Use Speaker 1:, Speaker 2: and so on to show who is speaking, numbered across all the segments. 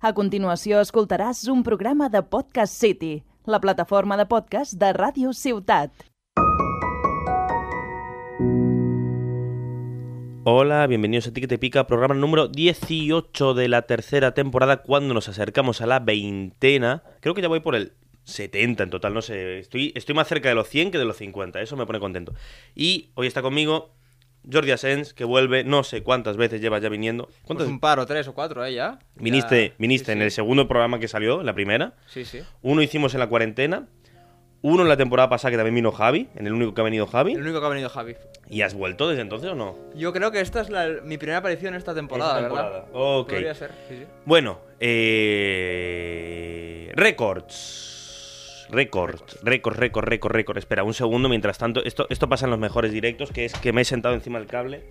Speaker 1: A continuació escoltaràs un programa de Podcast City, la plataforma de podcast de Ràdio Ciutat.
Speaker 2: Hola, bienvenidos a Ti que te pica, programa número 18 de la tercera temporada, cuando nos acercamos a la veintena. Creo que ya voy por el 70 en total, no sé. Estoy, estoy más cerca de los 100 que de los 50, eso me pone contento. Y hoy está conmigo Jordi Asens, que vuelve, no sé cuántas veces lleva ya viniendo. ¿Cuántas?
Speaker 3: Pues un par o tres o cuatro, ¿eh? Ya.
Speaker 2: viniste
Speaker 3: Ya-
Speaker 2: viniste
Speaker 3: sí,
Speaker 2: en
Speaker 3: sí.
Speaker 2: el segundo programa que salió, en la primera.
Speaker 3: Sí, sí.
Speaker 2: Uno hicimos en la cuarentena. Uno en la temporada pasada que también vino Javi, en el único que ha venido Javi.
Speaker 3: El único que ha venido Javi.
Speaker 2: ¿Y has vuelto desde entonces o no?
Speaker 3: Yo creo que esta es la- mi primera aparición esta temporada,
Speaker 2: Esta temporada.
Speaker 3: ¿verdad?
Speaker 2: Ok.
Speaker 3: Podría ser, sí, sí.
Speaker 2: Bueno, eh... Records. Records, récords, récords, récords, récords. Espera, un segundo, mientras tanto, esto, esto pasa en los mejores directos, que es que me he sentado encima del cable.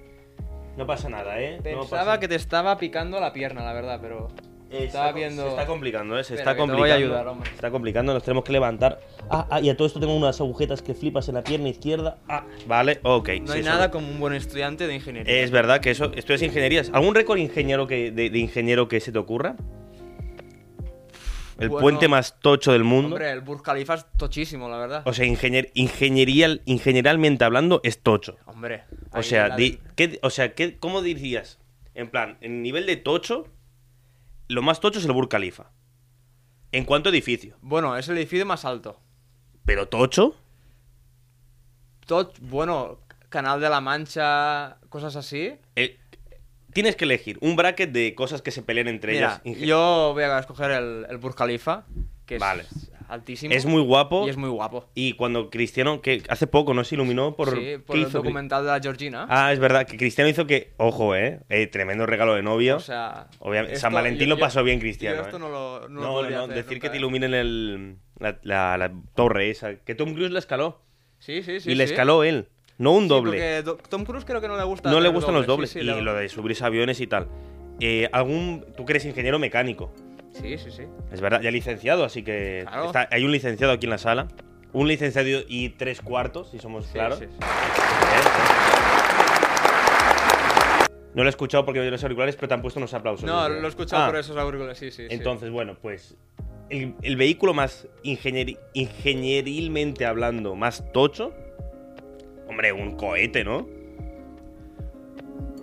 Speaker 2: No pasa nada, ¿eh? No pasa
Speaker 3: Pensaba
Speaker 2: nada.
Speaker 3: que te estaba picando la pierna, la verdad, pero.
Speaker 2: Eh,
Speaker 3: estaba
Speaker 2: se-
Speaker 3: viendo.
Speaker 2: Se está complicando, ¿eh? Se
Speaker 3: Espera,
Speaker 2: está
Speaker 3: que te
Speaker 2: complicando.
Speaker 3: voy a ayudar, hombre.
Speaker 2: Se está complicando, nos tenemos que levantar. Ah, ah, y a todo esto tengo unas agujetas que flipas en la pierna izquierda. Ah, vale, ok.
Speaker 3: No
Speaker 2: sí,
Speaker 3: hay
Speaker 2: eso
Speaker 3: nada
Speaker 2: lo-
Speaker 3: como un buen estudiante de ingeniería.
Speaker 2: Es verdad que eso, esto es ingenierías. ¿Algún récord ingeniero que, de, de ingeniero que se te ocurra? El
Speaker 3: Bueno,
Speaker 2: puente más tocho del mundo.
Speaker 3: Hombre, el Burj Khalifa es tochísimo, la verdad.
Speaker 2: O sea, ingenier- ingeniería, ingenieralmente hablando, es tocho.
Speaker 3: Hombre.
Speaker 2: O
Speaker 3: ahí
Speaker 2: sea,
Speaker 3: la-
Speaker 2: di- ¿qué- o sea ¿qué- ¿cómo dirías? En plan, en nivel de tocho, lo más tocho es el Burj Khalifa. En cuanto a edificio.
Speaker 3: Bueno, es el edificio más alto.
Speaker 2: Pero tocho,
Speaker 3: Tot, bueno, Canal de la Mancha, cosas así.
Speaker 2: eh, tienes que elegir un bracket de cosas que se pelean entre
Speaker 3: Mira,
Speaker 2: ellas. Inge-
Speaker 3: yo voy a escoger el, el Burj Khalifa, que es
Speaker 2: Vale.
Speaker 3: altísimo.
Speaker 2: Es muy guapo.
Speaker 3: Y es muy guapo.
Speaker 2: Y cuando Cristiano, que hace poco, ¿no? Se iluminó por...
Speaker 3: sí, por
Speaker 2: ¿qué
Speaker 3: el
Speaker 2: hizo?
Speaker 3: documental de la Georgina.
Speaker 2: Ah, es verdad, que Cristiano hizo que... Ojo, ¿eh? Eh, tremendo regalo de novio.
Speaker 3: o sea,
Speaker 2: Obviamente,
Speaker 3: esto-
Speaker 2: San Valentín
Speaker 3: yo-
Speaker 2: lo
Speaker 3: yo-
Speaker 2: pasó bien Cristiano.
Speaker 3: Yo esto
Speaker 2: ¿eh?
Speaker 3: no lo,
Speaker 2: No,
Speaker 3: no lo
Speaker 2: no,
Speaker 3: podría
Speaker 2: no,
Speaker 3: hacer
Speaker 2: decir
Speaker 3: nunca,
Speaker 2: que te
Speaker 3: ¿eh?
Speaker 2: iluminen el, la, la- la torre esa. Que Tom Cruise la escaló.
Speaker 3: Sí, sí, sí.
Speaker 2: y la
Speaker 3: sí.
Speaker 2: escaló él. No un
Speaker 3: Sí,
Speaker 2: doble.
Speaker 3: porque Do- Tom Cruise creo que no le gusta.
Speaker 2: No le
Speaker 3: hacer
Speaker 2: gustan los dobles.
Speaker 3: sí, sí,
Speaker 2: y
Speaker 3: le-
Speaker 2: lo de subirse a aviones y tal. Eh, algún, tú que eres ingeniero mecánico.
Speaker 3: Sí, sí, sí.
Speaker 2: Es verdad, ya licenciado, así que
Speaker 3: Claro.
Speaker 2: está- hay un licenciado aquí en la sala. Un licenciado y tres cuartos, si somos
Speaker 3: Sí,
Speaker 2: claros.
Speaker 3: sí, sí.
Speaker 2: ¿Eh? No lo he escuchado porque yo los auriculares, pero te han puesto unos aplausos.
Speaker 3: No, lo he escuchado
Speaker 2: Ah,
Speaker 3: por esos auriculares, sí, sí. sí.
Speaker 2: Entonces, bueno, pues el, el vehículo más ingenier- ingenierilmente hablando, más tocho, hombre, un cohete, ¿no?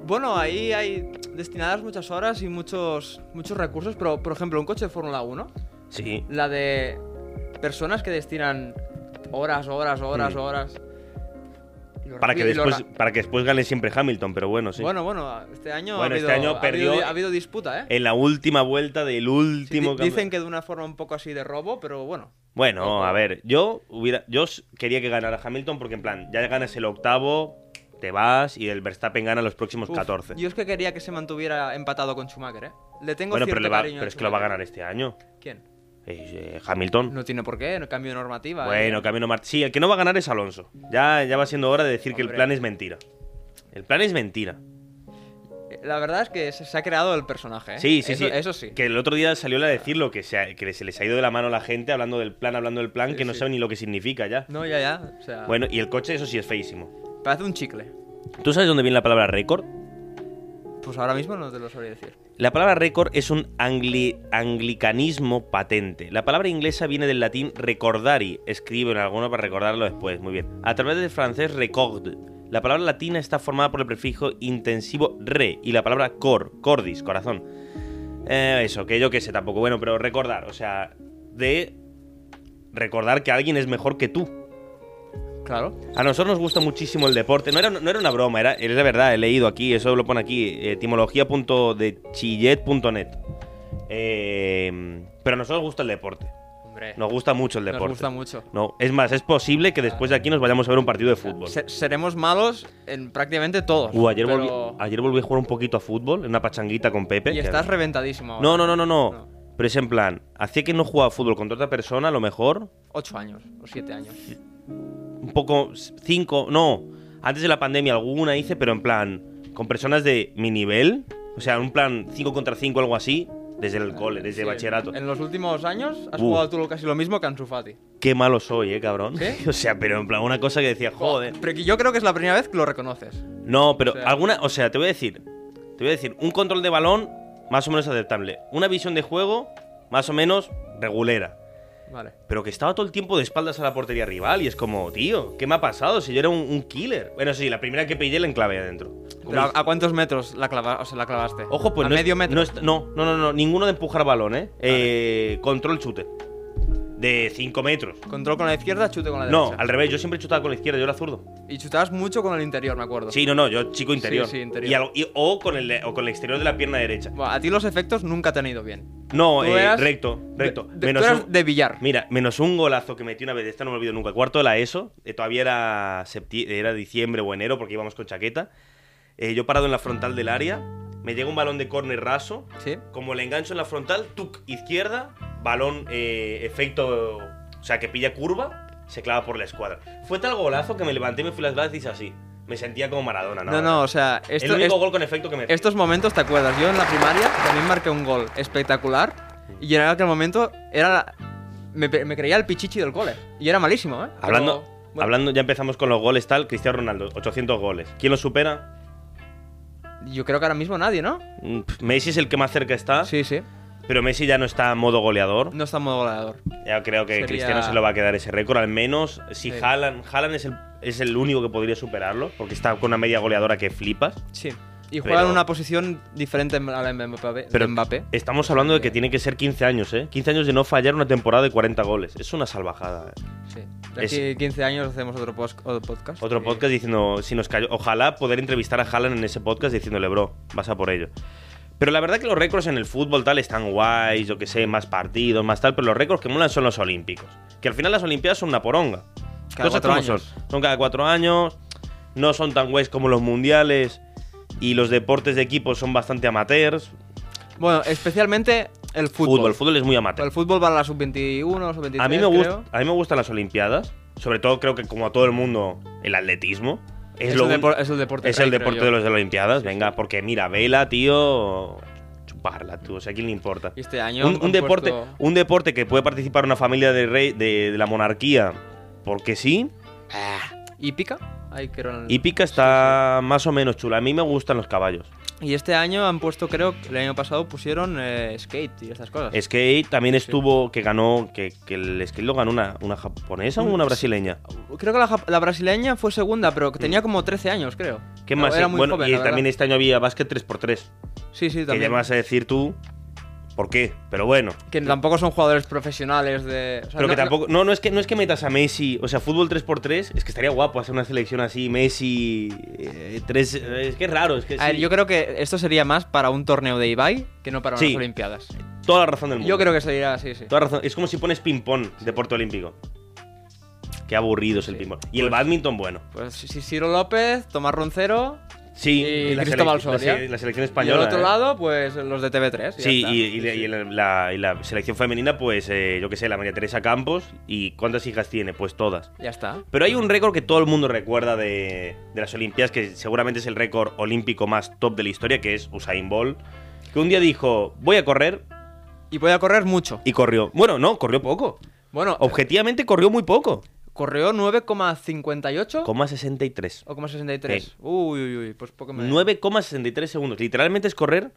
Speaker 3: Bueno, ahí hay destinadas muchas horas y muchos, muchos recursos, pero por ejemplo, un coche de Fórmula 1,
Speaker 2: Sí.
Speaker 3: la de personas que destinan horas, horas, horas,
Speaker 2: Mm.
Speaker 3: horas. y lo
Speaker 2: Para que,
Speaker 3: rápido- y lo
Speaker 2: después,
Speaker 3: ra-
Speaker 2: para que después gane siempre Hamilton, pero bueno, sí.
Speaker 3: Bueno, bueno, este año,
Speaker 2: Bueno,
Speaker 3: ha, habido,
Speaker 2: este año
Speaker 3: ha habido-
Speaker 2: perdió-
Speaker 3: ha habido disputa, ¿eh?
Speaker 2: en la última vuelta del
Speaker 3: Sí,
Speaker 2: último
Speaker 3: di-
Speaker 2: campe-
Speaker 3: dicen que de una forma un poco así de robo, pero bueno.
Speaker 2: Bueno, a ver, yo hubiera, yo s- quería que ganara Hamilton porque en plan, ya ganas el octavo, te vas y el Verstappen gana los próximos
Speaker 3: Uf,
Speaker 2: 14.
Speaker 3: Yo es que quería que se mantuviera empatado con Schumacher, ¿eh? Le tengo
Speaker 2: Bueno, pero,
Speaker 3: cierto
Speaker 2: le va-
Speaker 3: cariño a
Speaker 2: pero es que lo va a
Speaker 3: Schumacher.
Speaker 2: ganar este año.
Speaker 3: ¿Quién?
Speaker 2: Eh, eh, Hamilton.
Speaker 3: No tiene por qué, no cambio de normativa. ¿eh?
Speaker 2: bueno, Camino Mart. Sí, el que no va a ganar es Alonso. Ya, ya va siendo hora de decir que el
Speaker 3: Hombre.
Speaker 2: plan es mentira. El plan es mentira.
Speaker 3: La verdad es que se, se ha creado el personaje, ¿eh?
Speaker 2: Sí, sí,
Speaker 3: eso,
Speaker 2: sí.
Speaker 3: Eso sí.
Speaker 2: Que el otro día salió a decirlo, que se, ha- que se les ha ido de la mano a la gente hablando del plan, hablando del plan,
Speaker 3: Sí,
Speaker 2: que no
Speaker 3: sí. Ah.
Speaker 2: saben ni lo que significa ya.
Speaker 3: No, ya, ya. O sea,
Speaker 2: Bueno, y el coche, eso sí es feísimo.
Speaker 3: parece un chicle.
Speaker 2: ¿Tú sabes dónde viene la palabra récord?
Speaker 3: Pues ahora mismo no te lo sabría decir.
Speaker 2: La palabra récord es un angli- anglicanismo patente. La palabra inglesa viene del latín recordari, escribe en alguno para recordarlo después, muy bien. A través del francés record. La palabra latina está formada por el prefijo intensivo re y la palabra cor, cordis, corazón. Eh, eso, que yo qué sé tampoco. Bueno, pero recordar, o sea, de recordar que alguien es mejor que tú.
Speaker 3: Claro.
Speaker 2: A nosotros nos gusta muchísimo el deporte. No era, no era una broma, era, es de verdad, he leído aquí, eso lo pone aquí, eh, etimología.dechillet.net. Eh, pero a nosotros nos gusta el deporte.
Speaker 3: Hombre.
Speaker 2: Nos gusta mucho el
Speaker 3: nos
Speaker 2: deporte.
Speaker 3: gusta mucho.
Speaker 2: No, es más, es posible que después de aquí nos vayamos a ver un partido de fútbol.
Speaker 3: Se- seremos malos en prácticamente todos.
Speaker 2: Uh, ayer,
Speaker 3: pero-
Speaker 2: volví, ayer volví a jugar un poquito a fútbol, en una pachanguita con Pepe.
Speaker 3: Y
Speaker 2: que-
Speaker 3: estás reventadísimo ahora.
Speaker 2: no, no, no, no, no,
Speaker 3: No.
Speaker 2: Pero es en plan, hacía que no jugaba fútbol contra otra persona, a lo mejor,
Speaker 3: Ocho años o siete años.
Speaker 2: un poco cinco, no, antes de la pandemia alguna hice, pero en plan con personas de mi nivel, o sea, un plan 5 contra 5 algo así, desde el cole, desde
Speaker 3: Sí,
Speaker 2: bachillerato.
Speaker 3: En los últimos años has
Speaker 2: Uh.
Speaker 3: jugado tú casi lo mismo que Ansu Fati.
Speaker 2: Qué malo soy, eh, cabrón.
Speaker 3: ¿Sí?
Speaker 2: O sea, pero en plan una cosa que decía, joder.
Speaker 3: Pero que yo creo que es la primera vez que lo reconoces.
Speaker 2: No, pero
Speaker 3: O sea-
Speaker 2: alguna, o sea, te voy a decir, te voy a decir, un control de balón más o menos aceptable. Una visión de juego, más o menos regulera.
Speaker 3: Vale.
Speaker 2: Pero que estaba todo el tiempo de espaldas a la portería rival y es como, tío, ¿qué me ha pasado? Si yo era un, un killer. Bueno, sí, la primera que pillé la enclavé adentro.
Speaker 3: Pero, ¿a, a cuántos metros la, clava, o sea, la clavaste?
Speaker 2: Ojo, pues
Speaker 3: ¿A
Speaker 2: no, es-
Speaker 3: medio metro?
Speaker 2: No, es- no, no, no, no, ninguno de empujar balón, ¿eh? Eh, control chute. De 5 metros.
Speaker 3: Control con la izquierda, chute con la
Speaker 2: No,
Speaker 3: derecha.
Speaker 2: al revés, yo siempre chutaba con la izquierda, yo era zurdo.
Speaker 3: Y chutabas mucho con el interior, me acuerdo.
Speaker 2: Sí, no, no, yo chico interior.
Speaker 3: sí, interior.
Speaker 2: Y al- y- o, con el, o con el exterior de la pierna derecha.
Speaker 3: Bueno, a ti los efectos nunca te han ido bien.
Speaker 2: No,
Speaker 3: Tú
Speaker 2: eh,
Speaker 3: eras
Speaker 2: recto, recto.
Speaker 3: De, de-
Speaker 2: Menos
Speaker 3: tú eras
Speaker 2: un-
Speaker 3: de billar.
Speaker 2: Mira, menos un golazo que metí una vez, esta no me olvido nunca, cuarto de la ESO, eh, todavía era, septi- era diciembre o enero porque íbamos con chaqueta. Eh, yo parado en la frontal del área, me llega un balón de córner raso,
Speaker 3: Sí.
Speaker 2: como le engancho en la frontal, tuc, izquierda, balón eh, efecto, o sea, que pilla curva, se clava por la escuadra. Fue tal golazo que me levanté, me fui las gradas y hice así. Me sentía como Maradona, ¿no?
Speaker 3: No, no, o sea, esto-
Speaker 2: el único
Speaker 3: est-
Speaker 2: gol con efecto que me...
Speaker 3: estos momentos te acuerdas. Yo en la primaria también marqué un gol espectacular y en aquel momento era la- me, pe- me creía el pichichi del cole y era malísimo, ¿eh? Pero,
Speaker 2: Hablando,
Speaker 3: bueno,
Speaker 2: hablando, ya empezamos con los goles tal, Cristiano Ronaldo, 800 goles. ¿Quién lo supera?
Speaker 3: yo creo que ahora mismo nadie, ¿no?
Speaker 2: Mm, pf, Messi es el que más cerca está,
Speaker 3: Sí, sí.
Speaker 2: pero Messi ya no está a modo goleador.
Speaker 3: No está en modo goleador.
Speaker 2: Ya creo que
Speaker 3: Sería-
Speaker 2: Cristiano se lo va a quedar ese récord, al menos si
Speaker 3: Sí.
Speaker 2: Haaland, Haaland es el, es el único que podría superarlo, porque está con una media goleadora que flipas.
Speaker 3: Sí. Y juega en
Speaker 2: Pero-
Speaker 3: una posición diferente a la de Mbappé. de
Speaker 2: Pero
Speaker 3: Mbappé.
Speaker 2: estamos hablando de que tiene que ser 15 años, ¿eh? 15 años de no fallar una temporada de 40 goles. Es una salvajada. ¿eh?
Speaker 3: Sí. De aquí
Speaker 2: Es-
Speaker 3: 15 años hacemos otro, pos- otro podcast.
Speaker 2: Otro
Speaker 3: Sí.
Speaker 2: podcast diciendo, si nos cayó, ojalá poder entrevistar a Haaland en ese podcast diciéndole, bro, vas a por ello. Pero la verdad que los récords en el fútbol tal están guays, yo que sé, más partidos, más tal, pero los récords que molan son los olímpicos. Que al final las olimpiadas son una poronga.
Speaker 3: Cada
Speaker 2: Cosas
Speaker 3: cuatro
Speaker 2: como
Speaker 3: años.
Speaker 2: son. Son cada cuatro años, no son tan guays como los mundiales y los deportes de equipo son bastante amateurs.
Speaker 3: Bueno, especialmente el
Speaker 2: Fútbol,
Speaker 3: fútbol.
Speaker 2: el fútbol es muy amateur.
Speaker 3: El fútbol va a la sub-21, sub-23.
Speaker 2: A mí, me
Speaker 3: creo.
Speaker 2: gusta, a mí me gustan las Olimpiadas. Sobre todo, creo que como a todo el mundo, el atletismo. Es,
Speaker 3: Es,
Speaker 2: lo
Speaker 3: el,
Speaker 2: un-
Speaker 3: depor- es el deporte.
Speaker 2: es el
Speaker 3: rey, creo
Speaker 2: deporte
Speaker 3: yo.
Speaker 2: de los de las Olimpiadas. Venga, porque mira, vela, tío. Chuparla, tú. O sea, ¿a quién le importa?
Speaker 3: Y este año.
Speaker 2: Un,
Speaker 3: han
Speaker 2: un deporte,
Speaker 3: puesto-
Speaker 2: un deporte que puede participar una familia de, rey, de, de la monarquía porque sí.
Speaker 3: Hípica. Ahí creo en el-
Speaker 2: Hípica está más o menos chula. A mí me gustan los caballos.
Speaker 3: Y este año han puesto, creo, que el año pasado pusieron eh, skate y estas cosas.
Speaker 2: Skate también estuvo, que ganó, que, que el skate lo ganó una, una japonesa o
Speaker 3: Mm,
Speaker 2: una brasileña.
Speaker 3: Creo que la, jap- la brasileña fue segunda, pero que tenía como 13 años, creo.
Speaker 2: Mm. ¿Qué
Speaker 3: No,
Speaker 2: más?
Speaker 3: Era
Speaker 2: eh?
Speaker 3: muy
Speaker 2: bueno,
Speaker 3: joven,
Speaker 2: y
Speaker 3: la verdad.
Speaker 2: también este año había básquet 3x3.
Speaker 3: Sí, sí,
Speaker 2: Que ya
Speaker 3: también.
Speaker 2: me vas a decir tú por qué, pero bueno.
Speaker 3: Que tampoco son jugadores profesionales de. o sea,
Speaker 2: Pero que
Speaker 3: no-
Speaker 2: tampoco. No, no es que no es que metas a Messi. O sea, fútbol 3x3, es que estaría guapo hacer una selección así, Messi. eh, tres, eh, es que es raro, es que
Speaker 3: A ver,
Speaker 2: sí.
Speaker 3: yo creo que esto sería más para un torneo de Ibai que no para
Speaker 2: Sí.
Speaker 3: unas Olimpiadas.
Speaker 2: Toda la razón del mundo.
Speaker 3: Yo creo que sería así, sí.
Speaker 2: Toda razón. Es como si pones ping-pong, deporte olímpico. Qué aburrido es el
Speaker 3: Sí.
Speaker 2: ping-pong. Y el badminton, bueno.
Speaker 3: Pues sí, Ciro López, Tomás Roncero.
Speaker 2: Sí,
Speaker 3: Y
Speaker 2: la,
Speaker 3: Cristóbal
Speaker 2: selec- la se-
Speaker 3: Soria.
Speaker 2: la selección
Speaker 3: y
Speaker 2: española.
Speaker 3: al otro
Speaker 2: eh.
Speaker 3: lado, pues los de TV3. ya
Speaker 2: Sí,
Speaker 3: está.
Speaker 2: y, y la- y la, la- y la selección femenina, pues eh, yo qué sé, la María Teresa Campos. ¿Y cuántas hijas tiene? Pues todas.
Speaker 3: Ya está.
Speaker 2: Pero hay un récord que todo el mundo recuerda de, de las Olimpiadas, que seguramente es el récord olímpico más top de la historia, que es Usain Bolt, que un día dijo, voy a correr,
Speaker 3: Y voy a correr mucho.
Speaker 2: y corrió. Bueno, no, corrió poco.
Speaker 3: Bueno,
Speaker 2: Objetivamente corrió muy poco.
Speaker 3: corrió 9,58
Speaker 2: Coma 63.
Speaker 3: o 63.
Speaker 2: Sí.
Speaker 3: Uy, uy, uy, pues poco me...
Speaker 2: 9,63 segundos. Literalmente es correr...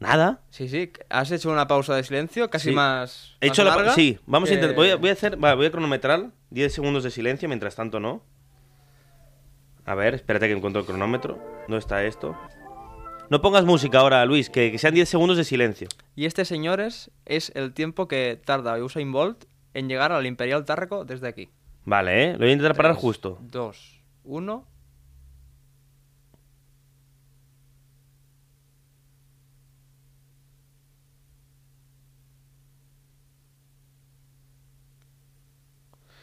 Speaker 2: Nada.
Speaker 3: Sí, sí, has hecho una pausa de silencio, casi
Speaker 2: Sí.
Speaker 3: más.
Speaker 2: He
Speaker 3: más
Speaker 2: hecho la...
Speaker 3: larga
Speaker 2: Sí, vamos a
Speaker 3: que-
Speaker 2: intentar... Voy a, voy a hacer... va, voy a cronometrar 10 segundos de silencio, mientras tanto no. A ver, espérate que encuentro el cronómetro. ¿Dónde está esto? No pongas música ahora, Luis, que, que sean 10 segundos de silencio.
Speaker 3: Y este, señores, es el tiempo que tarda Usain Bolt en llegar al Imperial Tárraco desde aquí.
Speaker 2: Vale, ¿eh? Lo voy a intentar parar
Speaker 3: Tres,
Speaker 2: justo.
Speaker 3: Dos, uno.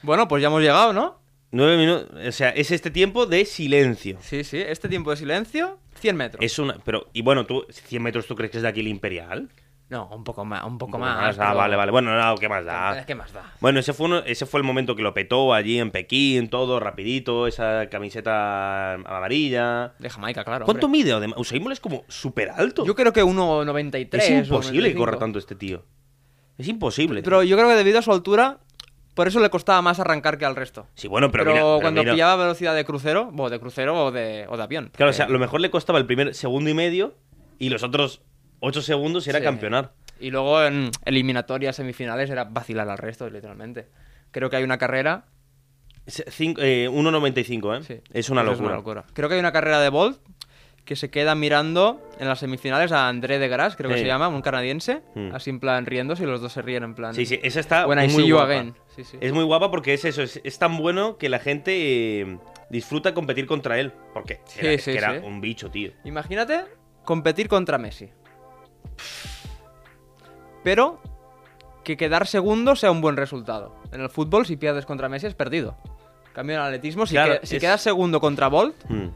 Speaker 3: Bueno, pues ya hemos llegado, ¿no?
Speaker 2: 9 minutos... O sea, es este tiempo de silencio.
Speaker 3: Sí, sí. Este tiempo de silencio, 100 metros.
Speaker 2: Es una... Pero... Y bueno, tú... ¿100 metros tú crees que es de aquí el Imperial?
Speaker 3: No, un poco más, un poco,
Speaker 2: Un poco
Speaker 3: más.
Speaker 2: Ah,
Speaker 3: pero-
Speaker 2: vale, vale. Ah. Bueno, no, ¿qué más da?
Speaker 3: ¿Qué más da?
Speaker 2: Bueno, ese fue, uno- ese fue el momento que lo petó allí en Pekín, todo rapidito, esa camiseta amarilla.
Speaker 3: De Jamaica, claro.
Speaker 2: ¿Cuánto
Speaker 3: hombre.
Speaker 2: mide? además? Usain Bolt es como súper alto.
Speaker 3: Yo creo que 1,93.
Speaker 2: Es
Speaker 3: o
Speaker 2: imposible que
Speaker 3: 95.
Speaker 2: corra tanto este tío. Es imposible.
Speaker 3: Pero yo creo que debido a su altura, por eso le costaba más arrancar que al resto.
Speaker 2: sí, bueno, pero,
Speaker 3: Pero,
Speaker 2: mira, pero
Speaker 3: cuando
Speaker 2: mira.
Speaker 3: pillaba velocidad de crucero, bueno, de crucero o de, o de avión. Eh,
Speaker 2: Claro, o
Speaker 3: porque-
Speaker 2: sea, a lo mejor le costaba el primer segundo y medio y los otros 8 segundos era
Speaker 3: Sí.
Speaker 2: campeonar.
Speaker 3: Y luego en eliminatorias, semifinales, era vacilar al resto, literalmente. Creo que hay una carrera.
Speaker 2: Es cinco- eh, 1.95, ¿eh?
Speaker 3: sí.
Speaker 2: Es una
Speaker 3: Eso
Speaker 2: locura.
Speaker 3: Creo que hay una carrera de Bolt que se queda mirando en las semifinales a André de Gras, creo que
Speaker 2: Sí.
Speaker 3: se llama, un canadiense,
Speaker 2: Mm.
Speaker 3: así en plan riéndose y los dos se ríen en plan.
Speaker 2: Sí, sí, esa está
Speaker 3: When I
Speaker 2: muy
Speaker 3: see you
Speaker 2: guapa.
Speaker 3: again. Sí, sí.
Speaker 2: Es muy guapa porque es eso, es, es tan bueno que la gente eh, disfruta competir contra él. Porque
Speaker 3: Sí,
Speaker 2: era, es
Speaker 3: sí,
Speaker 2: que era
Speaker 3: sí.
Speaker 2: un bicho, tío.
Speaker 3: Imagínate competir contra Messi. Pero que quedar segundo sea un buen resultado. En el fútbol, si pierdes contra Messi, es perdido. En Cambio en el atletismo, si,
Speaker 2: Claro,
Speaker 3: que- si
Speaker 2: es-
Speaker 3: quedas segundo contra Bolt,
Speaker 2: Mm.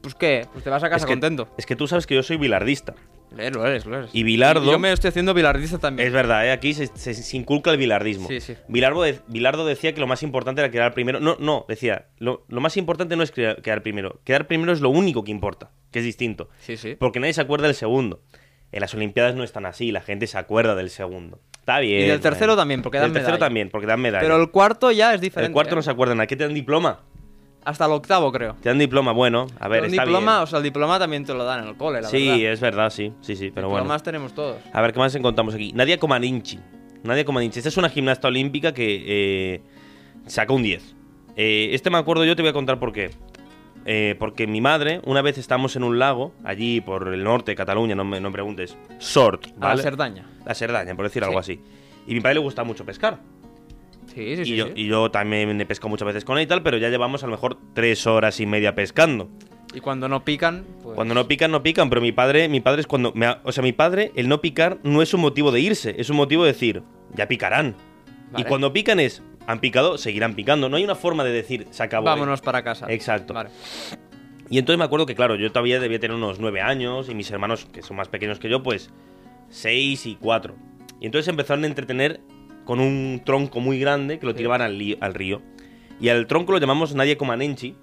Speaker 3: pues qué, pues te vas a casa
Speaker 2: Es que-
Speaker 3: contento.
Speaker 2: Es que tú sabes que yo soy bilardista.
Speaker 3: Eh, Lo eres, lo eres.
Speaker 2: Y Bilardo-
Speaker 3: Yo me estoy haciendo bilardista también.
Speaker 2: Es verdad, ¿eh? aquí se, se- se inculca el bilardismo.
Speaker 3: Sí, sí.
Speaker 2: Bilardo, de- Bilardo decía que lo más importante era quedar primero. No, no, decía, lo, lo más importante no es crea- quedar primero. Quedar primero es lo único que importa, que es distinto.
Speaker 3: Sí, sí.
Speaker 2: Porque nadie se acuerda del segundo. En las Olimpiadas no es tan así, la gente se acuerda del segundo. Está bien.
Speaker 3: Y del tercero
Speaker 2: bueno.
Speaker 3: también, porque dan
Speaker 2: Del tercero
Speaker 3: medalla.
Speaker 2: también, porque dan medalla.
Speaker 3: Pero el cuarto ya es diferente.
Speaker 2: El cuarto
Speaker 3: ¿eh?
Speaker 2: no se acuerdan. ¿A qué te dan diploma?
Speaker 3: Hasta el octavo, creo.
Speaker 2: Te dan diploma, bueno, a ver,
Speaker 3: Pero un
Speaker 2: está
Speaker 3: diploma,
Speaker 2: bien.
Speaker 3: o sea, el diploma también te lo dan en el cole, la
Speaker 2: sí,
Speaker 3: verdad.
Speaker 2: es verdad, sí, sí, sí, pero bueno.
Speaker 3: Diplomas tenemos todos.
Speaker 2: A ver, ¿qué más encontramos aquí? Nadia Comaneci. Nadia Comaneci. Esta es una gimnasta olímpica que eh, saca un 10. Eh, este me acuerdo yo, te voy a contar por qué. Eh, porque mi madre, una vez estamos en un lago, allí por el norte de Cataluña, no me, no me preguntes, Sort,
Speaker 3: A
Speaker 2: ¿vale?
Speaker 3: hacer daño.
Speaker 2: La Cerdaña, por decir
Speaker 3: Sí.
Speaker 2: algo así. Y a mi padre le gusta mucho pescar.
Speaker 3: Sí, sí, sí.
Speaker 2: y, yo,
Speaker 3: sí.
Speaker 2: y yo también he pescado muchas veces con él y tal, pero ya llevamos a lo mejor tres horas y media pescando.
Speaker 3: Y cuando no pican, pues.
Speaker 2: Cuando no pican, no pican, pero mi padre, mi padre es cuando. me ha- o sea, mi padre, el no picar no es un motivo de irse, es un motivo de decir, ya picarán.
Speaker 3: Vale.
Speaker 2: Y cuando pican es, han picado, seguirán picando. No hay una forma de decir, se acabó. hoy".
Speaker 3: Vámonos para casa.
Speaker 2: Exacto.
Speaker 3: Vale.
Speaker 2: Y entonces me acuerdo que, claro, yo todavía debía tener unos nueve años y mis hermanos, que son más pequeños que yo, pues seis y cuatro. Y entonces se empezaron a entretener con un tronco muy grande que lo
Speaker 3: Sí.
Speaker 2: tiraban al, li- al río. Y al tronco lo llamamos Nadia Comanenchi,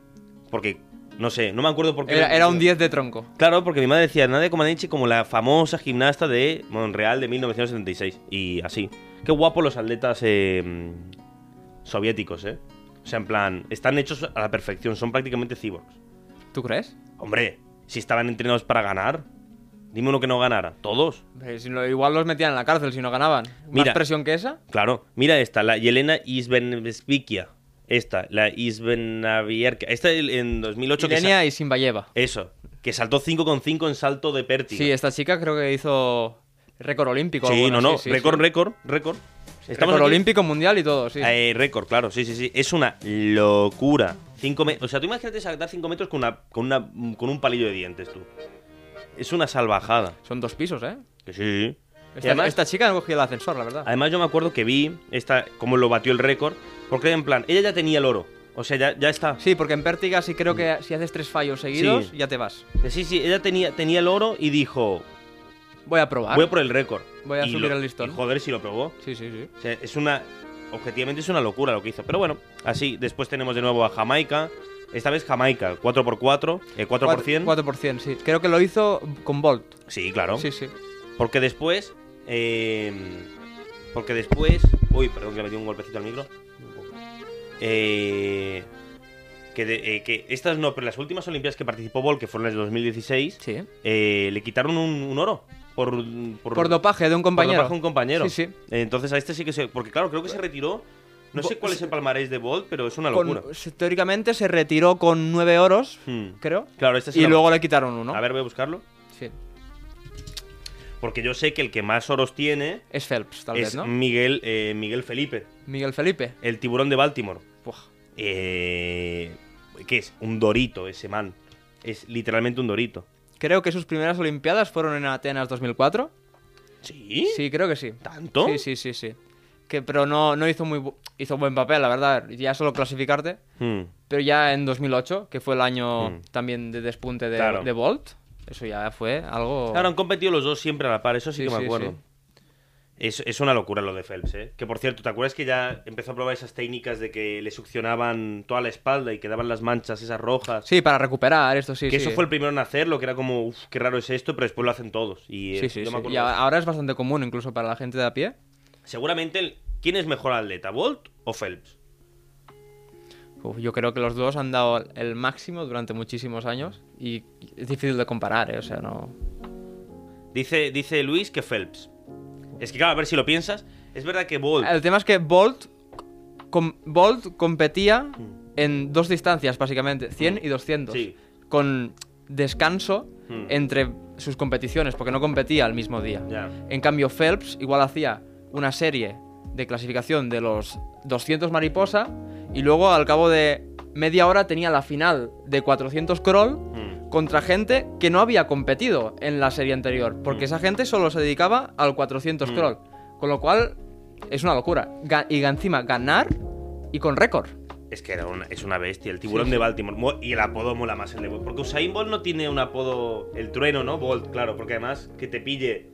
Speaker 2: porque, no sé, no me acuerdo por qué.
Speaker 3: Era, era un 10 de tronco.
Speaker 2: Claro, porque mi madre decía Nadia Comaneci como la famosa gimnasta de Monreal de 1976. Y así. Qué guapo los atletas eh, mm, soviéticos, ¿eh? O sea, en plan, están hechos a la perfección, son prácticamente cyborgs.
Speaker 3: ¿Tú crees?
Speaker 2: Hombre, si estaban entrenados para ganar, dime uno que no ganara. Todos.
Speaker 3: Hombre, Eh, si no- igual los metían en la cárcel si no ganaban.
Speaker 2: Mira.
Speaker 3: ¿Más presión que esa?
Speaker 2: Claro, mira esta, la Yelena Isbenevsvikia. Esta, la Isbenavierka. Esta el- en 2008 que sa-
Speaker 3: Ilenia y Simbayeva.
Speaker 2: Eso, que saltó 5,5 en salto de pértiga.
Speaker 3: Sí, esta chica creo que hizo récord olímpico. o
Speaker 2: Sí,
Speaker 3: algo
Speaker 2: no, no,
Speaker 3: así, sí,
Speaker 2: récord,
Speaker 3: sí.
Speaker 2: récord, récord.
Speaker 3: Récord
Speaker 2: aquí-
Speaker 3: olímpico, mundial y todo, sí.
Speaker 2: Eh, récord, claro, sí, sí, sí. Es una locura. Cinco me- o sea, tú imagínate saltar 5 metros con, una, con, una, con un palillo de dientes, tú. Es una salvajada.
Speaker 3: Son dos pisos, ¿eh?
Speaker 2: Que sí. Y
Speaker 3: Esta,
Speaker 2: además,
Speaker 3: esta chica no cogió el ascensor, la verdad.
Speaker 2: además yo me acuerdo que vi esta, cómo lo batió el récord. Porque en plan, ella ya tenía el oro. O sea, ya, ya está.
Speaker 3: Sí, porque en Pértiga sí creo que si haces tres fallos seguidos,
Speaker 2: Sí.
Speaker 3: ya te vas.
Speaker 2: Sí, sí, ella tenía, tenía el oro y dijo,
Speaker 3: Voy a probar.
Speaker 2: voy a por el récord.
Speaker 3: Voy a
Speaker 2: Y
Speaker 3: subir
Speaker 2: lo-
Speaker 3: el listón.
Speaker 2: y joder, si lo probó.
Speaker 3: Sí, sí, sí.
Speaker 2: O sea, es una. Objetivamente es una locura lo que hizo. Pero bueno, así. Después tenemos de nuevo a Jamaica. Esta vez Jamaica, 4x4, eh, 4%.
Speaker 3: 4%, sí. Creo que lo hizo con Bolt.
Speaker 2: Sí, claro.
Speaker 3: Sí, sí.
Speaker 2: Porque después. eh, porque después. Uy, perdón que le metí un golpecito al micro. Eh, que, de- eh, que estas no, pero las últimas Olimpiadas que participó Bol, que fueron las de 2016,
Speaker 3: Sí.
Speaker 2: eh, le quitaron un, un oro. Por, por,
Speaker 3: Por dopaje de un
Speaker 2: por
Speaker 3: compañero.
Speaker 2: dopaje a un compañero.
Speaker 3: Sí, sí.
Speaker 2: Entonces a este sí que se. Porque claro, creo que se retiró. No sé
Speaker 3: Bo-
Speaker 2: cuál es el palmarés de Bolt, pero es una
Speaker 3: Con-
Speaker 2: locura.
Speaker 3: se- teóricamente se retiró con 9 oros,
Speaker 2: Hmm.
Speaker 3: creo.
Speaker 2: Claro, este es
Speaker 3: Y luego le quitaron uno.
Speaker 2: A ver, voy a buscarlo.
Speaker 3: Sí.
Speaker 2: Porque yo sé que el que más oros tiene
Speaker 3: Es Phelps, tal
Speaker 2: es
Speaker 3: vez, ¿no?
Speaker 2: Miguel, eh, Miguel Felipe,
Speaker 3: Miguel Felipe.
Speaker 2: el tiburón de Baltimore.
Speaker 3: Buah.
Speaker 2: Eh, ¿Qué es? Un dorito ese man. Es literalmente un dorito.
Speaker 3: Creo que sus primeras Olimpiadas fueron en Atenas 2004.
Speaker 2: ¿Sí?
Speaker 3: Sí, creo que sí.
Speaker 2: ¿Tanto?
Speaker 3: Sí, sí, sí, sí. Que, pero no, no hizo muy bu- hizo buen papel, la verdad. Ya solo clasificarte.
Speaker 2: Hmm.
Speaker 3: Pero ya en 2008, que fue el año
Speaker 2: Mm.
Speaker 3: también de despunte de,
Speaker 2: Claro.
Speaker 3: de Bolt, eso ya fue algo...
Speaker 2: Claro, han competido los dos siempre a la par, eso sí,
Speaker 3: Sí,
Speaker 2: que me
Speaker 3: sí,
Speaker 2: acuerdo.
Speaker 3: sí.
Speaker 2: Es, es una locura lo de Phelps, ¿eh? Que por cierto, ¿te acuerdas que ya empezó a probar esas técnicas de que le succionaban toda la espalda y quedaban las manchas esas rojas?
Speaker 3: Sí, para recuperar esto, sí.
Speaker 2: que
Speaker 3: sí.
Speaker 2: eso fue el primero en hacerlo, que era como, uff, qué raro es esto, pero después lo hacen todos. Y eh,
Speaker 3: Sí, sí,
Speaker 2: yo me
Speaker 3: sí.
Speaker 2: acuerdo-
Speaker 3: Y a- ahora es bastante común incluso para la gente de a pie.
Speaker 2: Seguramente, el- ¿quién es mejor atleta, Bolt o Phelps?
Speaker 3: Uf, yo creo que los dos han dado el máximo durante muchísimos años y es difícil de comparar, ¿eh? O sea, no...
Speaker 2: Dice, dice Luis que Phelps. Es que claro, a ver si lo piensas. Es verdad que Bolt.
Speaker 3: El tema es que Bolt, com- Bolt competía en dos distancias, básicamente, 100 y 200.
Speaker 2: Hmm. Sí.
Speaker 3: Con descanso
Speaker 2: Mm.
Speaker 3: entre sus competiciones, porque no competía al mismo día.
Speaker 2: Ya.
Speaker 3: En cambio, Phelps igual hacía una serie de clasificación de los 200 mariposa y luego al cabo de media hora tenía la final de 400 crawl
Speaker 2: Mm.
Speaker 3: contra gente que no había competido en la serie anterior,
Speaker 2: Mm.
Speaker 3: porque esa gente solo se dedicaba al 400
Speaker 2: Mm.
Speaker 3: crawl, con lo cual es una locura. Ga- y encima ganar y con récord.
Speaker 2: Es que era una, es una bestia, el tiburón
Speaker 3: Sí, sí.
Speaker 2: de Baltimore. Mo- Y el apodo mola más el de Bolt. Porque Usain Bolt no tiene un apodo. El trueno, ¿no? Bolt, claro. Porque además que te pille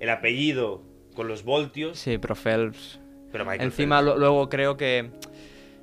Speaker 2: el apellido con los voltios.
Speaker 3: Sí, pero Phelps.
Speaker 2: Pero Michael
Speaker 3: Encima
Speaker 2: Phelps.
Speaker 3: lo- luego creo que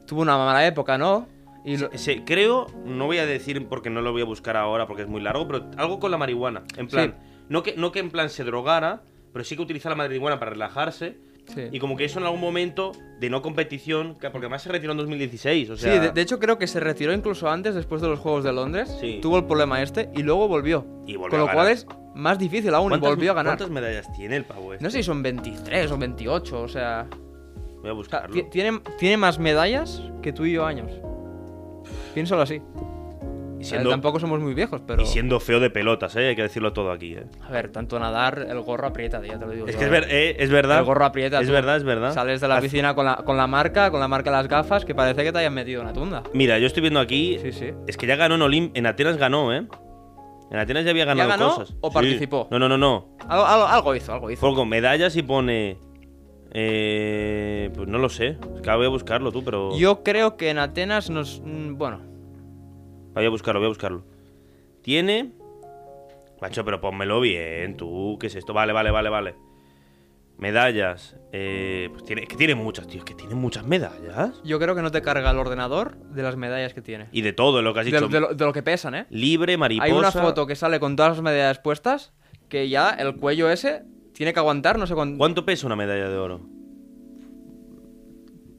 Speaker 3: tuvo una mala época, ¿no? Y lo-
Speaker 2: Sí, creo, no voy a decir porque no lo voy a buscar ahora porque es muy largo, pero algo con la marihuana. En plan, no, que, no que en plan se drogara, pero sí que utiliza la marihuana para relajarse.
Speaker 3: sí.
Speaker 2: Y como que eso en algún momento de no competición, que- porque además se retiró en 2016, o sea...
Speaker 3: Sí, de, de hecho creo que se retiró incluso antes, después de los Juegos de Londres.
Speaker 2: Sí.
Speaker 3: Tuvo el problema este y luego volvió.
Speaker 2: Y volvió
Speaker 3: Con lo
Speaker 2: a
Speaker 3: cual
Speaker 2: ganar.
Speaker 3: es más difícil aún y
Speaker 2: ¿Cuántas-
Speaker 3: volvió a ganar.
Speaker 2: ¿Cuántas medallas tiene el pavo este?
Speaker 3: No sé si son 23 o 28, o sea...
Speaker 2: Voy a
Speaker 3: o sea,
Speaker 2: buscarlo.
Speaker 3: ti- tiene, tiene más medallas que tú y yo años. Piénsalo así.
Speaker 2: y,
Speaker 3: Eh,
Speaker 2: siendo,
Speaker 3: Tampoco somos muy viejos, pero...
Speaker 2: y siendo feo de pelotas, ¿eh? hay que decirlo todo aquí. ¿eh?
Speaker 3: A ver, tanto nadar, el gorro aprieta, tío, ya te lo digo.
Speaker 2: Es
Speaker 3: yo,
Speaker 2: que es,
Speaker 3: eh.
Speaker 2: ver- eh, es verdad.
Speaker 3: El gorro aprieta,
Speaker 2: Es
Speaker 3: tú.
Speaker 2: verdad, es verdad.
Speaker 3: Sales de la
Speaker 2: Haz-
Speaker 3: piscina con la, con la marca, con la marca de las gafas, que parece que te hayan metido una tunda.
Speaker 2: Mira, yo estoy viendo aquí.
Speaker 3: Sí, sí.
Speaker 2: Es que ya ganó en Olim... En Atenas ganó, ¿eh? En Atenas ya había ganado
Speaker 3: ganó
Speaker 2: cosas.
Speaker 3: o
Speaker 2: Sí.
Speaker 3: participó?
Speaker 2: No, no, no, no.
Speaker 3: Algo, algo- algo hizo, algo hizo.
Speaker 2: Fue con medallas y pone. Eh, pues no lo sé. Es que ahora voy a buscarlo tú, pero.
Speaker 3: Yo creo que en Atenas nos... mm, Bueno,
Speaker 2: Voy a buscarlo, voy a buscarlo. Tiene. Macho, pero pónmelo bien, tú. ¿Qué es esto? Vale, vale, vale, vale. Medallas. Eh, pues tiene, es que tiene muchas, tío. Es que tiene muchas medallas.
Speaker 3: Yo creo que no te carga el ordenador de las medallas que tiene.
Speaker 2: Y de todo lo que has
Speaker 3: De,
Speaker 2: dicho.
Speaker 3: de lo, de lo que pesan, ¿eh?
Speaker 2: Libre, mariposa.
Speaker 3: Hay una foto que sale con todas las medallas puestas que ya el cuello ese tiene que aguantar, no sé cuánto.
Speaker 2: ¿Cuánto pesa una medalla de oro?